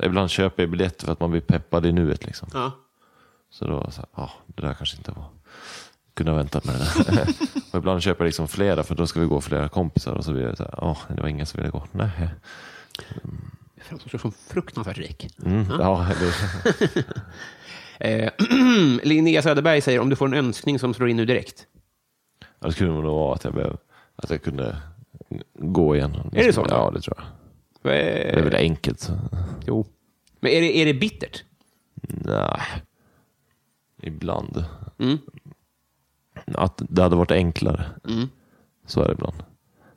S2: Ibland köper jag biljetter för att man blir peppad i nuet. Liksom.
S1: Ja.
S2: Så då så här, ja, det där kanske inte var... Kunde ha väntat med det där. och ibland köper jag liksom flera för då ska vi gå flera kompisar och så blir det så här, ja, det var ingen som ville gå. Nej.
S1: Jag framstår som fruktansvärt rik.
S2: Mm, ja, eller,
S1: Eh, Linnea Söderberg säger om du får en önskning som slår in nu direkt.
S2: ja, det skulle nog vara att jag, behöv, att jag kunde gå igen.
S1: Är det så?
S2: Ja, det tror jag. Det är
S1: Eh,
S2: väl enkelt. Så.
S1: jo. Men är det, är det bittert?
S2: Nej. Ibland.
S1: Mm.
S2: Att det hade varit enklare.
S1: Mm.
S2: Så är det ibland.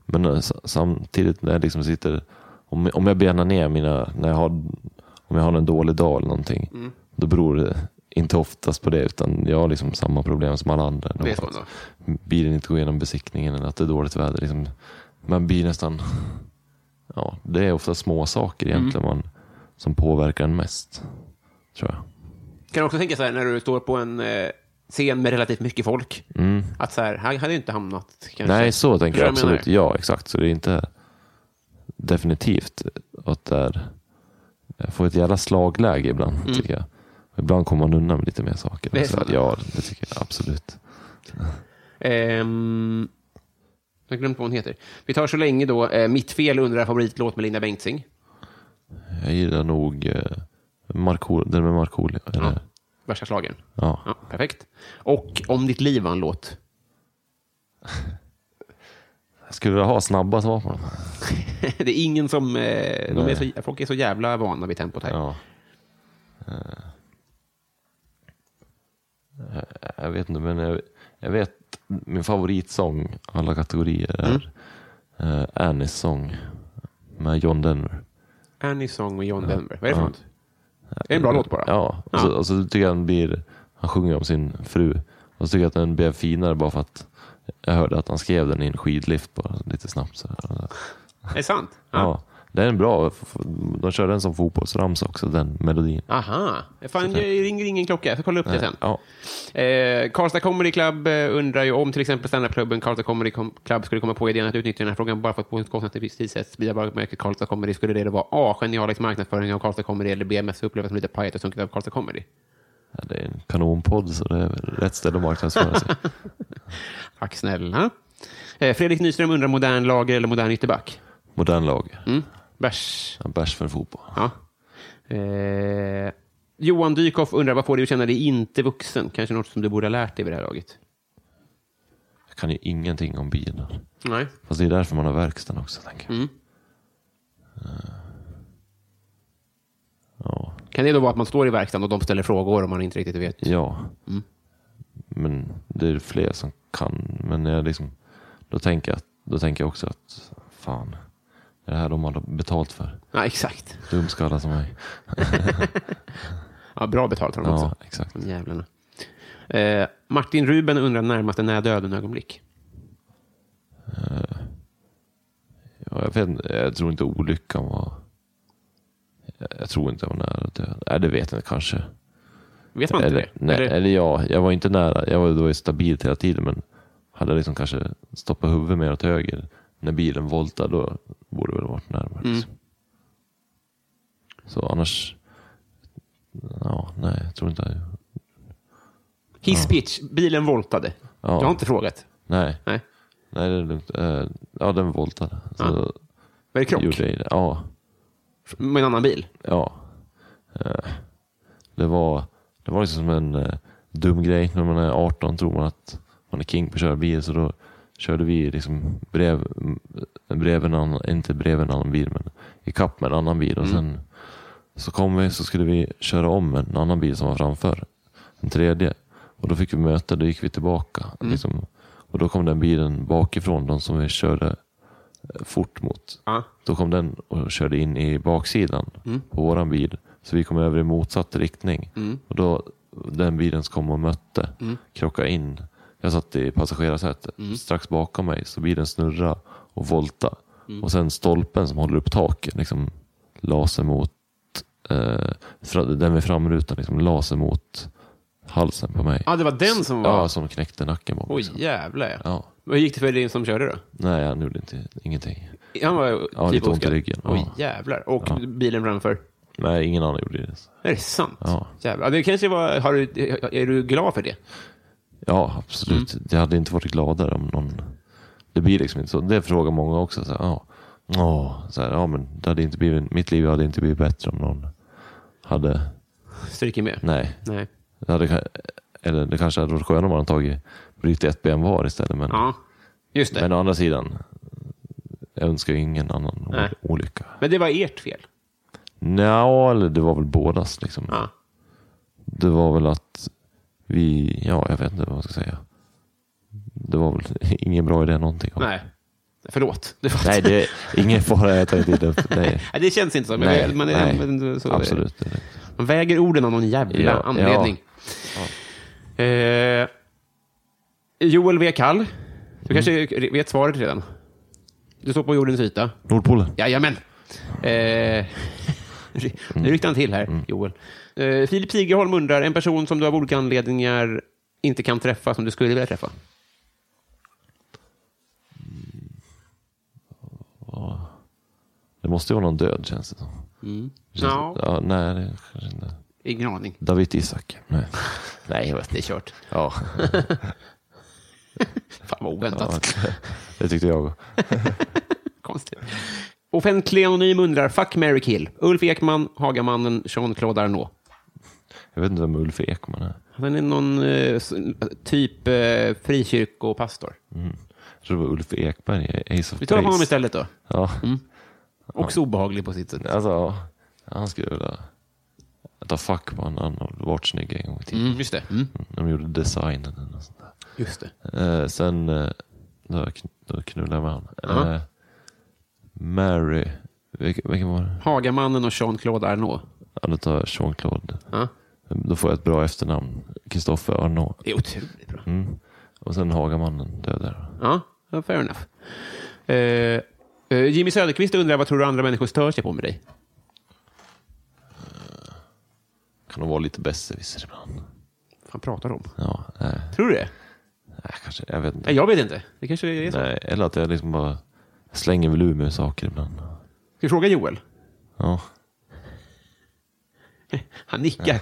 S2: Men eh, sa- samtidigt när jag liksom sitter, om, om jag benar ner mina, när jag har, om jag har en dålig dag eller någonting,
S1: Mm.
S2: då beror det inte oftast på det, utan jag har liksom samma problem som alla andra.
S1: Det är så då.
S2: Bilen inte går igenom besiktningen eller att det är dåligt väder. Liksom, man blir nästan, ja, det är ofta små saker egentligen
S1: Mm.
S2: man, som påverkar en mest. Tror jag.
S1: Kan du också tänka så här när du står på en eh, scen med relativt mycket folk? Att så här, han hade ju inte hamnat kanske.
S2: Nej, så tänker
S1: Förstår
S2: jag
S1: du vad jag
S2: absolut. Ja, exakt. Så det är inte definitivt att det är... Jag får ett jävla slagläge ibland, tycker jag. Ibland kommer man undan med lite mer saker.
S1: Mm. Det är
S2: så
S1: så.
S2: att, ja, det tycker jag absolut.
S1: Ehm, jag har glömt vad hon heter. Vi tar så länge då. Eh, mitt fel undrar favoritlåt med Linda Bengtzing.
S2: Jag gillar nog eh, Marko- den med Markoolio.
S1: Ja.
S2: eller-
S1: Värsta slagern.
S2: Ja.
S1: Ja, perfekt. Och Om ditt liv var en låt.
S2: Jag skulle vilja ha snabba svar på dem.
S1: det är ingen som... Eh, de är
S2: Nej.
S1: så, folk är så jävla vana vid tempot här.
S2: Ja. Eh, jag- eh, Jag vet inte, men jag, jag vet min favoritsång alla kategorier är mm. Annies sång med John Denver.
S1: Annie Song med John Denver. Vad är det för något? Det är en bra låt bara.
S2: Ja, och så, och så tycker jag den blir, han sjunger om sin fru och så tycker jag att den blev finare bara för att jag hörde att han skrev den i en skidlift bara lite snabbt. Så här.
S1: Är det sant?
S2: Ja, den är bra. F- f- De kör den som fotbollsramsa också, den melodin.
S1: Aha. Fan, det ringer ingen klocka. Jag ska kolla upp det sen.
S2: Ja.
S1: Eh, Karlstad Comedy Club eh, undrar ju om till exempel standupklubben Karlstad Comedy Com- Club skulle komma på idén att utnyttja den här frågan bara för att på ett konstnärligt tidssätt sprida varumärket Karlstad Comedy. Skulle det då vara A. Genialisk marknadsföring av Karlstad Comedy eller B. Mest upplevelse som lite pajigt och sunkigt av Karlstad Comedy?
S2: Ja, det är en kanonpodd så det är väl rätt ställe att marknadsföra sig.
S1: Tack snälla. Eh, Fredrik Nyström undrar modern lager eller modern ytterback?
S2: Modern lag.
S1: Mm. Bärs.
S2: Ja, Bärs för fotboll.
S1: Ja. Eh, Johan Dykhoff undrar vad får du att känna dig inte vuxen? Kanske något som du borde ha lärt dig vid det här laget?
S2: Jag kan ju ingenting om bilar.
S1: Nej.
S2: Fast det är därför man har verkstaden också. Tänker jag. Eh. Ja.
S1: Kan det då vara att man står i verkstaden och de ställer frågor om man inte riktigt vet?
S2: ja. Men det är fler som kan. Men jag liksom, då, tänker jag, då tänker jag också att fan, det är det här de har betalt för.
S1: Ja, exakt.
S2: Dumskallar som mig.
S1: Ja, bra betalt har de också.
S2: Ja, exakt.
S1: De jävlarna. Eh, Martin Ruben undrar närmaste när döden ögonblick.
S2: Ja, jag, vet, inte, jag tror inte olyckan var... Jag- Jag tror inte jag var nära döden. Nej, det vet jag inte kanske.
S1: Vet man inte
S2: eller, eh,
S1: det?
S2: Nej, eller?
S1: Eller-
S2: ja, jag var inte nära. Jag var, det var ju stabilt hela tiden, men hade jag liksom kanske stoppat huvudet mer åt höger när bilen voltade, då borde det väl varit närmare.
S1: Mm.
S2: Liksom. Så annars... Ja, nej, jag tror inte jag...
S1: His pitch, bilen voltade.
S2: Ja.
S1: Jag har inte frågat.
S2: Nej,
S1: Nej.
S2: nej det är lugnt. Eh, Ja, den voltade. Så
S1: Var det krock
S2: gjorde jag det. Ja,
S1: med en annan bil?
S2: ja. Eh, Det var, det var liksom som en eh, dum grej. När man är 18 tror man att man är king på att köra bil. Så då körde vi liksom brev, eh, brev en annan, inte brev en annan bil, men i kapp med en annan bil. Och sen så kom vi så skulle vi köra om en annan bil som var framför. En tredje. Och då fick vi möte, då gick vi tillbaka. Liksom, och då kom den bilen bakifrån, de som vi körde eh, fort mot.
S1: Ja.
S2: Då kom den och körde in i baksidan
S1: Mm.
S2: på våran bil. Så vi kom över i motsatt riktning. Och då den bilen som kom och mötte
S1: Mm.
S2: krockade in. Jag satt i passagerarsätet. Strax bakom mig så bilen snurrade
S1: Mm.
S2: och volta. Och sen stolpen som håller upp taket liksom la sig mot eh, fra- den med framrutan liksom las emot halsen på mig.
S1: Ja, det var den som var...
S2: Ja, som knäckte nacken på mig.
S1: Oj,
S2: liksom.
S1: jävlar ja.
S2: Ja.
S1: Vad gick det för din som körde då?
S2: Nej, han gjorde inte, ingenting.
S1: Han var typ
S2: Ja, lite ont i ryggen.
S1: Oj,
S2: Ja.
S1: jävlar. Och
S2: Ja.
S1: bilen framför?
S2: Nej, ingen annan gjorde det.
S1: Är det sant?
S2: Ja.
S1: Jävlar. Ja, Det kanske var, har du, är du glad för det?
S2: Ja, absolut.
S1: Mm.
S2: Jag hade inte varit gladare om någon... Det blir liksom inte så. Det frågar många också. Så här, ja. Ja, så här, ja, men det hade inte blivit, mitt liv hade inte blivit bättre om någon hade...
S1: Stryker med?
S2: Nej.
S1: Nej.
S2: Det hade, ka- eller det kanske hade varit skönare om man hade tagit brutit ett ben var istället. Men,
S1: Ja, just det.
S2: men
S1: Men,
S2: å andra sidan, jag önskar ju ingen annan o-
S1: Nej.
S2: olycka.
S1: det var ert fel?
S2: Nja, eller det var väl bådas. Liksom.
S1: Ja.
S2: Det var väl att vi, ja jag vet inte vad man ska säga. Det var väl ingen bra idé någonting.
S1: Nej. Förlåt. Det, var...
S2: Nej, det är ingen fara. Jag tar inte upp. Nej.
S1: Nej, det känns inte så. Men
S2: Nej,
S1: man, är, men
S2: nej.
S1: så,
S2: absolut. Det är det.
S1: Man väger orden av någon jävla
S2: Ja,
S1: anledning. Eh, Joel V. Kall. Du kanske vet svaret redan? Du står på jordens yta.
S2: Nordpolen.
S1: Jajamän. Eh, nu ryckte han till här,
S2: Mm.
S1: Joel. Eh, Filip Sigerholm undrar, en person som du av olika anledningar inte kan träffa, som du skulle vilja träffa?
S2: Det måste ju vara någon död känns det som. Känns
S1: Ja.
S2: det- ja, nej, det kanske inte.
S1: Ingen aning.
S2: David Isak. Nej. nej, jag vet
S1: Det är
S2: inte.
S1: kört.
S2: Ja,
S1: Fan vad oväntat.
S2: det tyckte jag.
S1: Konstigt. Offentlig anonym undrar, fuck, Mary kill. Ulf Ekman, Hagamannen, Jean-Claude Arnault.
S2: Jag vet inte vem Ulf Ekman är.
S1: Han är någon eh, s- typ eh, frikyrkopastor.
S2: Jag tror det var Ulf Ekberg i Ace of
S1: Vi tar honom
S2: Base.
S1: istället Mm. då.
S2: Ja.
S1: Också obehaglig på sitt sätt.
S2: Alltså, ja. han skulle vilja ta fuck på en annan varit snygg en gång i tiden.
S1: Mm, just det. Mm.
S2: De gjorde designen eller något sånt där.
S1: Just det.
S2: Eh, sen, eh, då, kn- då knullade jag med honom.
S1: Ja.
S2: Eh, Mary, vilken, vilken var det?
S1: Hagamannen och Jean-Claude Arnault.
S2: Ja, då tar jag Jean-Claude.
S1: Ja.
S2: Då får jag ett bra efternamn. Kristoffer Arnault.
S1: Det är otroligt bra.
S2: Mm. Och sen Hagamannen dödar.
S1: Ja, ja, fair enough. Eh, eh, Jimmy Söderqvist undrar vad tror du andra människor stör sig på med dig?
S2: Kan nog vara lite besserwisser ibland.
S1: Vad pratar om?
S2: Ja, nej,
S1: Tror du det?
S2: nej, kanske, jag vet inte.
S1: Nej, jag vet inte. Det kanske är så.
S2: Nej, eller att jag liksom bara slänger väl ur mig saker ibland.
S1: Ska vi fråga Joel?
S2: Ja.
S1: Han nickar.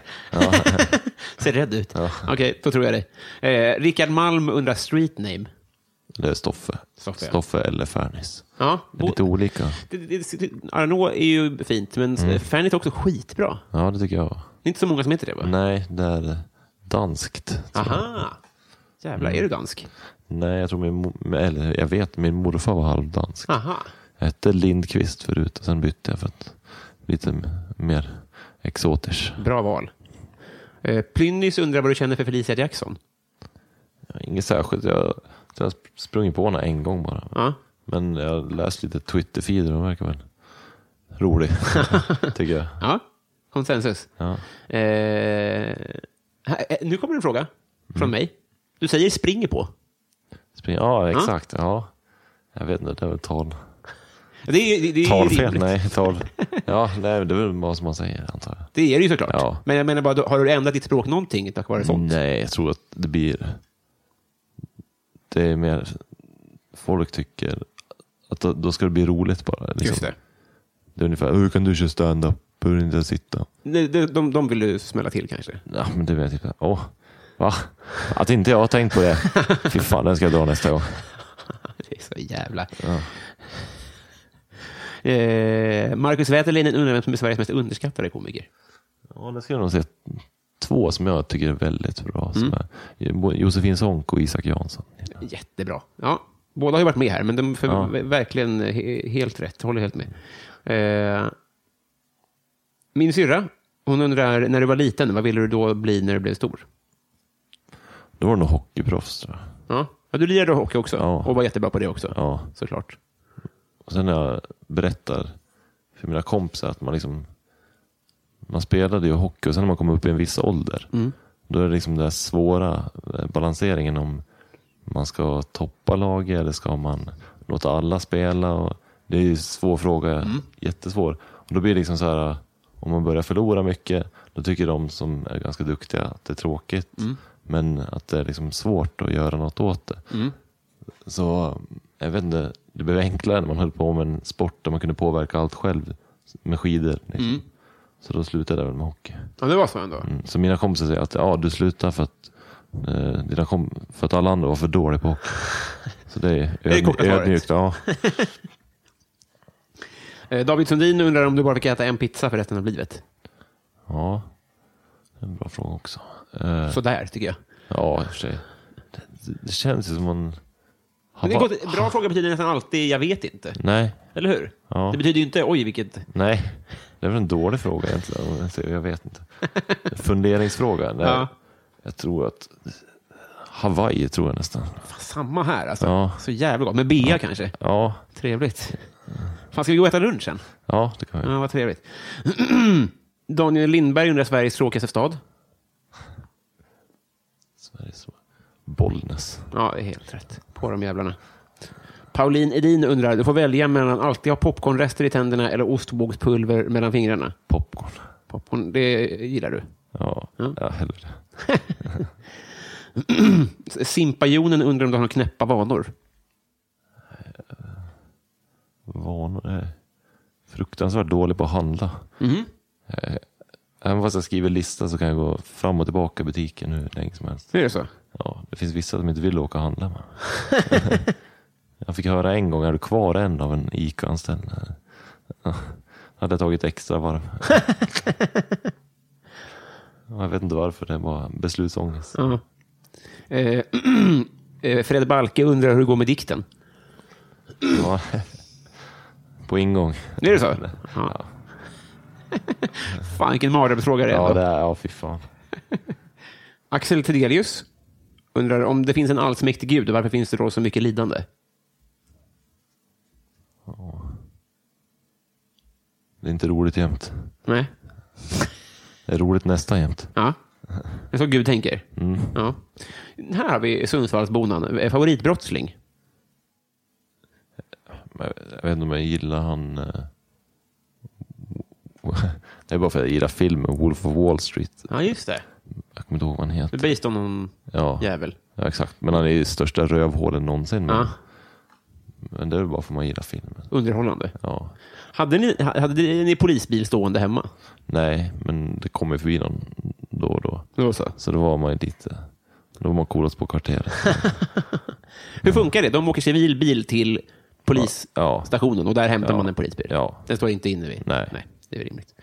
S1: Ser rädd ut. Okej, då tror jag dig. Eh, Rickard Malm undrar street name.
S2: Det är Stoffe.
S1: Stoffe, ja.
S2: eller Fernis.
S1: Ja,
S2: Det är lite olika.
S1: Det- det- det- Arnault är ju fint, men mm. Fanny är också skitbra.
S2: Ja, det tycker jag.
S1: Det är inte så många som heter det, va?
S2: Nej, det är danskt.
S1: Aha! Jävlar,
S2: Mm.
S1: är du dansk?
S2: Nej, jag tror min mo- eller jag vet, min morfar var halvdansk.
S1: Aha.
S2: Jag hette Lindqvist förut och sen bytte jag för att lite m- mer exotisk.
S1: Bra val. Eh, Plynnis undrar vad du känner för Felicia Jackson.
S2: Ja, Inget särskilt. Jag jag tror jag har sp- sprungit på henne en gång bara.
S1: Ja.
S2: Men jag har läst lite Twitter-feeder och hon verkar väl rolig. tycker jag.
S1: Ja, konsensus.
S2: Ja.
S1: Eh, här- eh, nu kommer en fråga från
S2: Mm.
S1: mig. Du säger springer på.
S2: Spring- Ja, exakt. Ja. Jag vet inte, det är väl tal.
S1: Det är, det, det är ju
S2: Talfel?
S1: rimligt.
S2: Nej, tal. Ja, nej, det är väl vad som man säger antar jag.
S1: Det är det ju såklart.
S2: Ja.
S1: Men jag menar bara, då- har du ändrat ditt språk någonting tack vare sånt?
S2: Nej, jag tror att det blir... Det är mer... Folk tycker att då, då ska det bli roligt bara. Liksom.
S1: Just det.
S2: det är ungefär, hur kan du köra stand-up? Behöver inte sitta?
S1: Nej, De, de, de vill du smälla till kanske.
S2: Ja, men det blir typ, åh, va? Att inte jag har tänkt på det. Fy fan, den ska jag dra nästa gång.
S1: Det är så jävla... Eh, Marcus Wäterlinen undrar vem som är Sveriges mest underskattade komiker.
S2: Ja, det ska jag nog se. Två som jag tycker är väldigt bra. Som är Josefin Sonck och Isak Jansson.
S1: Jättebra. Ja, båda har ju varit med här, men de för,
S2: Ja.
S1: verkligen he, helt rätt. Håller helt med. Eh, min syrra, hon undrar, när du var liten, vad ville du då bli när du blev stor?
S2: Då var det nog hockeyproffs tror jag.
S1: Ja, ja du lirade hockey också
S2: Ja.
S1: och var jättebra på det också.
S2: Ja.
S1: Såklart.
S2: Och sen när jag berättar för mina kompisar att man liksom man spelade ju hockey och sen när man kom upp i en viss ålder då är det liksom den där svåra eh, balanseringen om man ska toppa laget eller ska man låta alla spela. Och det är ju en svår fråga, jättesvår. Och då blir det liksom så här, Om man börjar förlora mycket, då tycker de som är ganska duktiga att det är tråkigt. Men att det är liksom svårt att göra något åt det. Så jag vet inte, det blev enklare när man höll på med en sport där man kunde påverka allt själv med skidor. Liksom.
S1: Mm.
S2: Så då slutade jag väl med hockey.
S1: Ja, det var så ändå.
S2: Mm. Så mina kompisar säger att ja, du slutar för att, eh, dina kom- för att alla andra var för dåliga på hockey. Så det är,
S1: är korta
S2: ödm-
S1: svaret.
S2: ödmjukt. Ja.
S1: Eh, David Sundin undrar om du bara fick äta en pizza för resten av livet.
S2: ja, det är en bra fråga också. Eh,
S1: Sådär, tycker jag.
S2: ja, i och för sig. Det, det känns ju som man...
S1: Men
S2: har
S1: det är
S2: va-
S1: gott, bra fråga betyder nästan alltid jag vet inte.
S2: Nej,
S1: Eller hur?
S2: Ja.
S1: Det betyder ju inte oj vilket...
S2: nej. Det är väl en dålig fråga egentligen. om jag säger- Jag vet inte. Funderingsfråga? Nej.
S1: Ja.
S2: Jag tror att... Hawaii tror jag nästan.
S1: Samma här alltså.
S2: Ja.
S1: Så jävla gott. Med bea kanske.
S2: Ja,
S1: Trevligt. Fan, ska vi gå och äta lunch sen?
S2: ja det kan jag.
S1: Ja, vad trevligt. Daniel Lindberg undrar Sveriges tråkigaste stad.
S2: Sveriges Bollnäs.
S1: Ja, det är helt rätt. På de jävlarna. Pauline Edin undrar, du får välja mellan alltid ha popcornrester i tänderna eller ostbågspulver mellan fingrarna.
S2: Popcorn.
S1: Popcorn, det gillar du.
S2: Ja,
S1: Ja.
S2: ja hellre.
S1: Simpajonen undrar om du har några knäppa vanor.
S2: vanor. Jag är fruktansvärt dålig på att handla.
S1: Mhm.
S2: Eh, Även fast jag skriver lista så kan jag gå fram och tillbaka i butiken hur länge som helst.
S1: Är det så?
S2: Ja, det finns vissa som inte vill åka och handla med. jag fick höra en gång, är du kvar en av en ICA-anställd? Ja, hade jag tagit extra varv. Ja, jag vet inte varför, det var beslutsångest.
S1: Ja. Eh, eh, Fred Balke undrar hur det går med dikten.
S2: Ja. På ingång.
S1: Är det så? Ja. Fan, vilken mardrömsfråga det är.
S2: Ja,
S1: ändå.
S2: det är, ja fy fan.
S1: Axel Tedelius undrar om det finns en allsmäktig gud, varför finns det då så mycket lidande?
S2: Det är inte roligt jämt.
S1: Nej.
S2: Det är roligt nästan jämt.
S1: Ja. Det är så Gud tänker. Ja. Här har vi Sundsvallsbonan. Eh, Favoritbrottsling.
S2: Men Jag jag vet inte om jag gillar han... eh, Det är bara för att jag gillar filmen Wolf of Wall Street.
S1: Ja, just det.
S2: Jag kommer inte ihåg vad han
S1: Det är
S2: heter.
S1: based on någon
S2: Ja,
S1: jävel.
S2: ja exakt. Men han är ju största rövhålen någonsin. Men,
S1: Ja.
S2: men det är väl bara för att man gillar filmen.
S1: Underhållande.
S2: Ja.
S1: Hade ni, ha- hade ni polisbil stående hemma?
S2: Nej, men det kommer ju förbi någon då och då.
S1: Det var så.
S2: Så då var man ju lite... Då var man coolast på kvarteret.
S1: Hur funkar det? De åker civil bil till
S2: Ja.
S1: polisstationen och där hämtar
S2: Ja.
S1: man en polisbil.
S2: Ja.
S1: Den står inte inne vid.
S2: Nej.
S1: det är rimligt.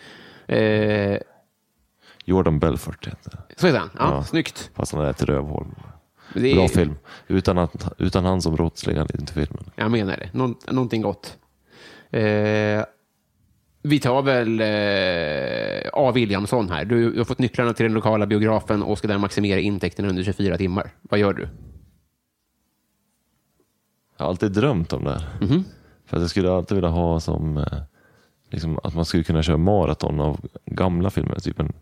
S1: Eh,
S2: Jordan Belfort heter det.
S1: så är det. Ja, ja.
S2: Ja.
S1: Snyggt.
S2: Fast han är ett rövhål.
S1: Det är,
S2: Bra film. Utan, att, utan han som brottsling hade inte filmen.
S1: Jag menar det. Någon, någonting gott. Eh, vi tar väl eh, A. Williamson här. Du, du har fått nycklarna till den lokala biografen och ska där maximera intäkterna under 24 timmar. Vad gör du?
S2: Jag har alltid drömt om det här.
S1: Mhm.
S2: För att jag skulle alltid vilja ha som eh, liksom, att man skulle kunna köra maraton av gamla filmer. Typ en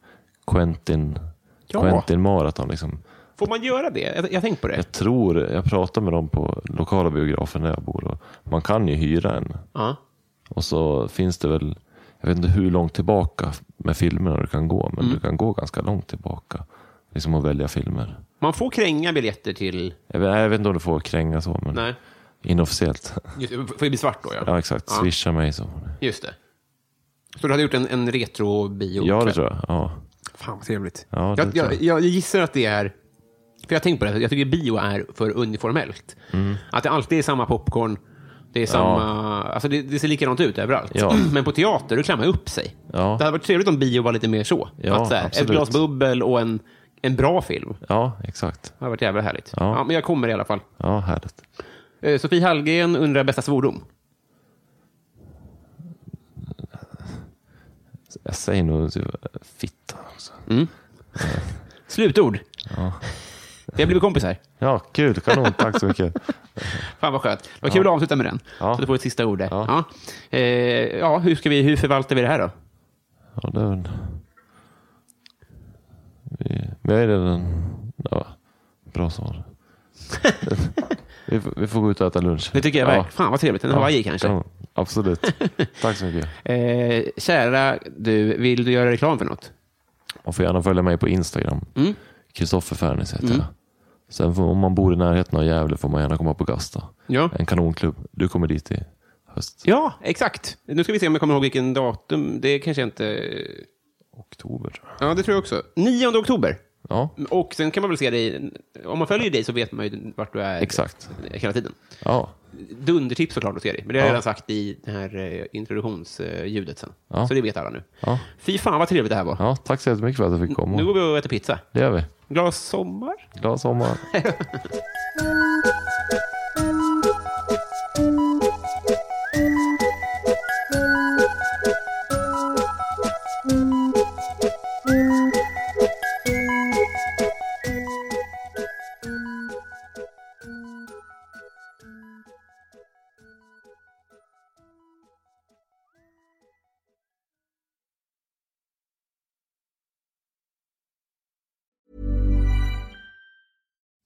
S2: Quentin,
S1: Ja.
S2: Quentin maraton. Liksom.
S1: Får man göra det? Jag, jag har tänkt på det.
S2: Jag tror, jag pratade med dem på lokala biografen där jag bor. Och man kan ju hyra en.
S1: Ja.
S2: Och så finns det väl, jag vet inte hur långt tillbaka med filmerna du kan gå.
S1: Mm.
S2: Men du kan gå ganska långt tillbaka. Liksom att välja filmer.
S1: Man får kränga biljetter till...
S2: Jag vet, jag vet inte om du får kränga så, men
S1: Nej.
S2: inofficiellt.
S1: Just, det, får det bli svart då? Ja,
S2: Ja, exakt.
S1: Ja.
S2: Swisha mig så.
S1: Just det. Så du hade gjort en, en retrobio?
S2: Ja, det tror jag. Ja.
S1: Fan, vad trevligt.
S2: Ja, det
S1: jag,
S2: tror
S1: jag, jag gissar att det är... För jag har tänkt på det, jag tycker bio är för uniformellt.
S2: Mm.
S1: Att det alltid är samma popcorn, det är samma... Alltså det, det ser likadant ut överallt.
S2: Ja.
S1: Men på teater, då klär man upp sig.
S2: Ja.
S1: Det hade varit trevligt om bio var lite mer så.
S2: Ja,
S1: att så här, ett
S2: absolut.
S1: glas bubbel och en, en bra film. Det
S2: Ja, exakt.
S1: hade varit jävla härligt. Ja.
S2: Ja.
S1: men jag kommer i alla fall.
S2: Ja, härligt.
S1: Eh, Sofie Hallgren undrar bästa svordom.
S2: Jag säger nog typ, fitta också.
S1: Slutord. Vi har blivit kompisar.
S2: Ja, kul. Kanon. Tack så mycket.
S1: Fan vad skönt. Det var kul att avsluta med den.
S2: Ja.
S1: Så du får ett sista ord där. Ja.
S2: Ja.
S1: Eh, ja, hur, ska vi, hur förvaltar vi det här då?
S2: Ja, det är väl... Vi, vi är redan... Ja, bra svar. vi, får- vi får gå ut och äta lunch.
S1: Det tycker jag verkligen. Fan vad trevligt. En Hawaii kanske.
S2: kanon. absolut. Tack så mycket.
S1: Eh, kära du, vill du göra reklam för något?
S2: Man får gärna följa mig på Instagram.
S1: Mm.
S2: Kristoffer Fernis heter jag. Sen får, om man bor i närheten av Gävle får man gärna komma på Gasta.
S1: Ja.
S2: En kanonklubb. Du kommer dit i höst.
S1: Ja, exakt. Nu ska vi se om jag kommer ihåg vilken datum. Det kanske jag inte...
S2: Oktober tror jag.
S1: Ja, det tror jag också. 9 oktober.
S2: Ja,
S1: Och sen kan man väl se dig... Om man följer dig så vet man ju vart du är
S2: Exakt.
S1: hela tiden.
S2: ja.
S1: Dundertips såklart att se dig. Men det har jag
S2: Ja.
S1: redan sagt i det här eh, introduktionsljudet sen.
S2: Ja.
S1: Så det vet alla nu.
S2: Ja.
S1: Fy fan vad trevligt det här var.
S2: ja tack så jättemycket för att jag fick
S1: Nu går
S2: komma.
S1: vi och äter pizza.
S2: Det gör vi.
S1: Glad sommar.
S2: Glad sommar.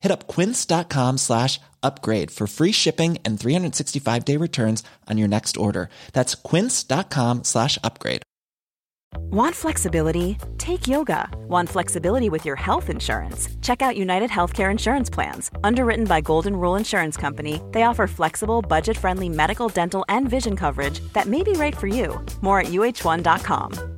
S5: Hit up quince.com slash upgrade for free shipping and 365 day returns on your next order. That's quince.com slash upgrade.
S6: Want flexibility? Take yoga. Want flexibility with your health insurance? Check out United Healthcare Insurance Plans. Underwritten by Golden Rule Insurance Company, they offer flexible, budget friendly medical, dental, and vision coverage that may be right for you. More at uh1.com.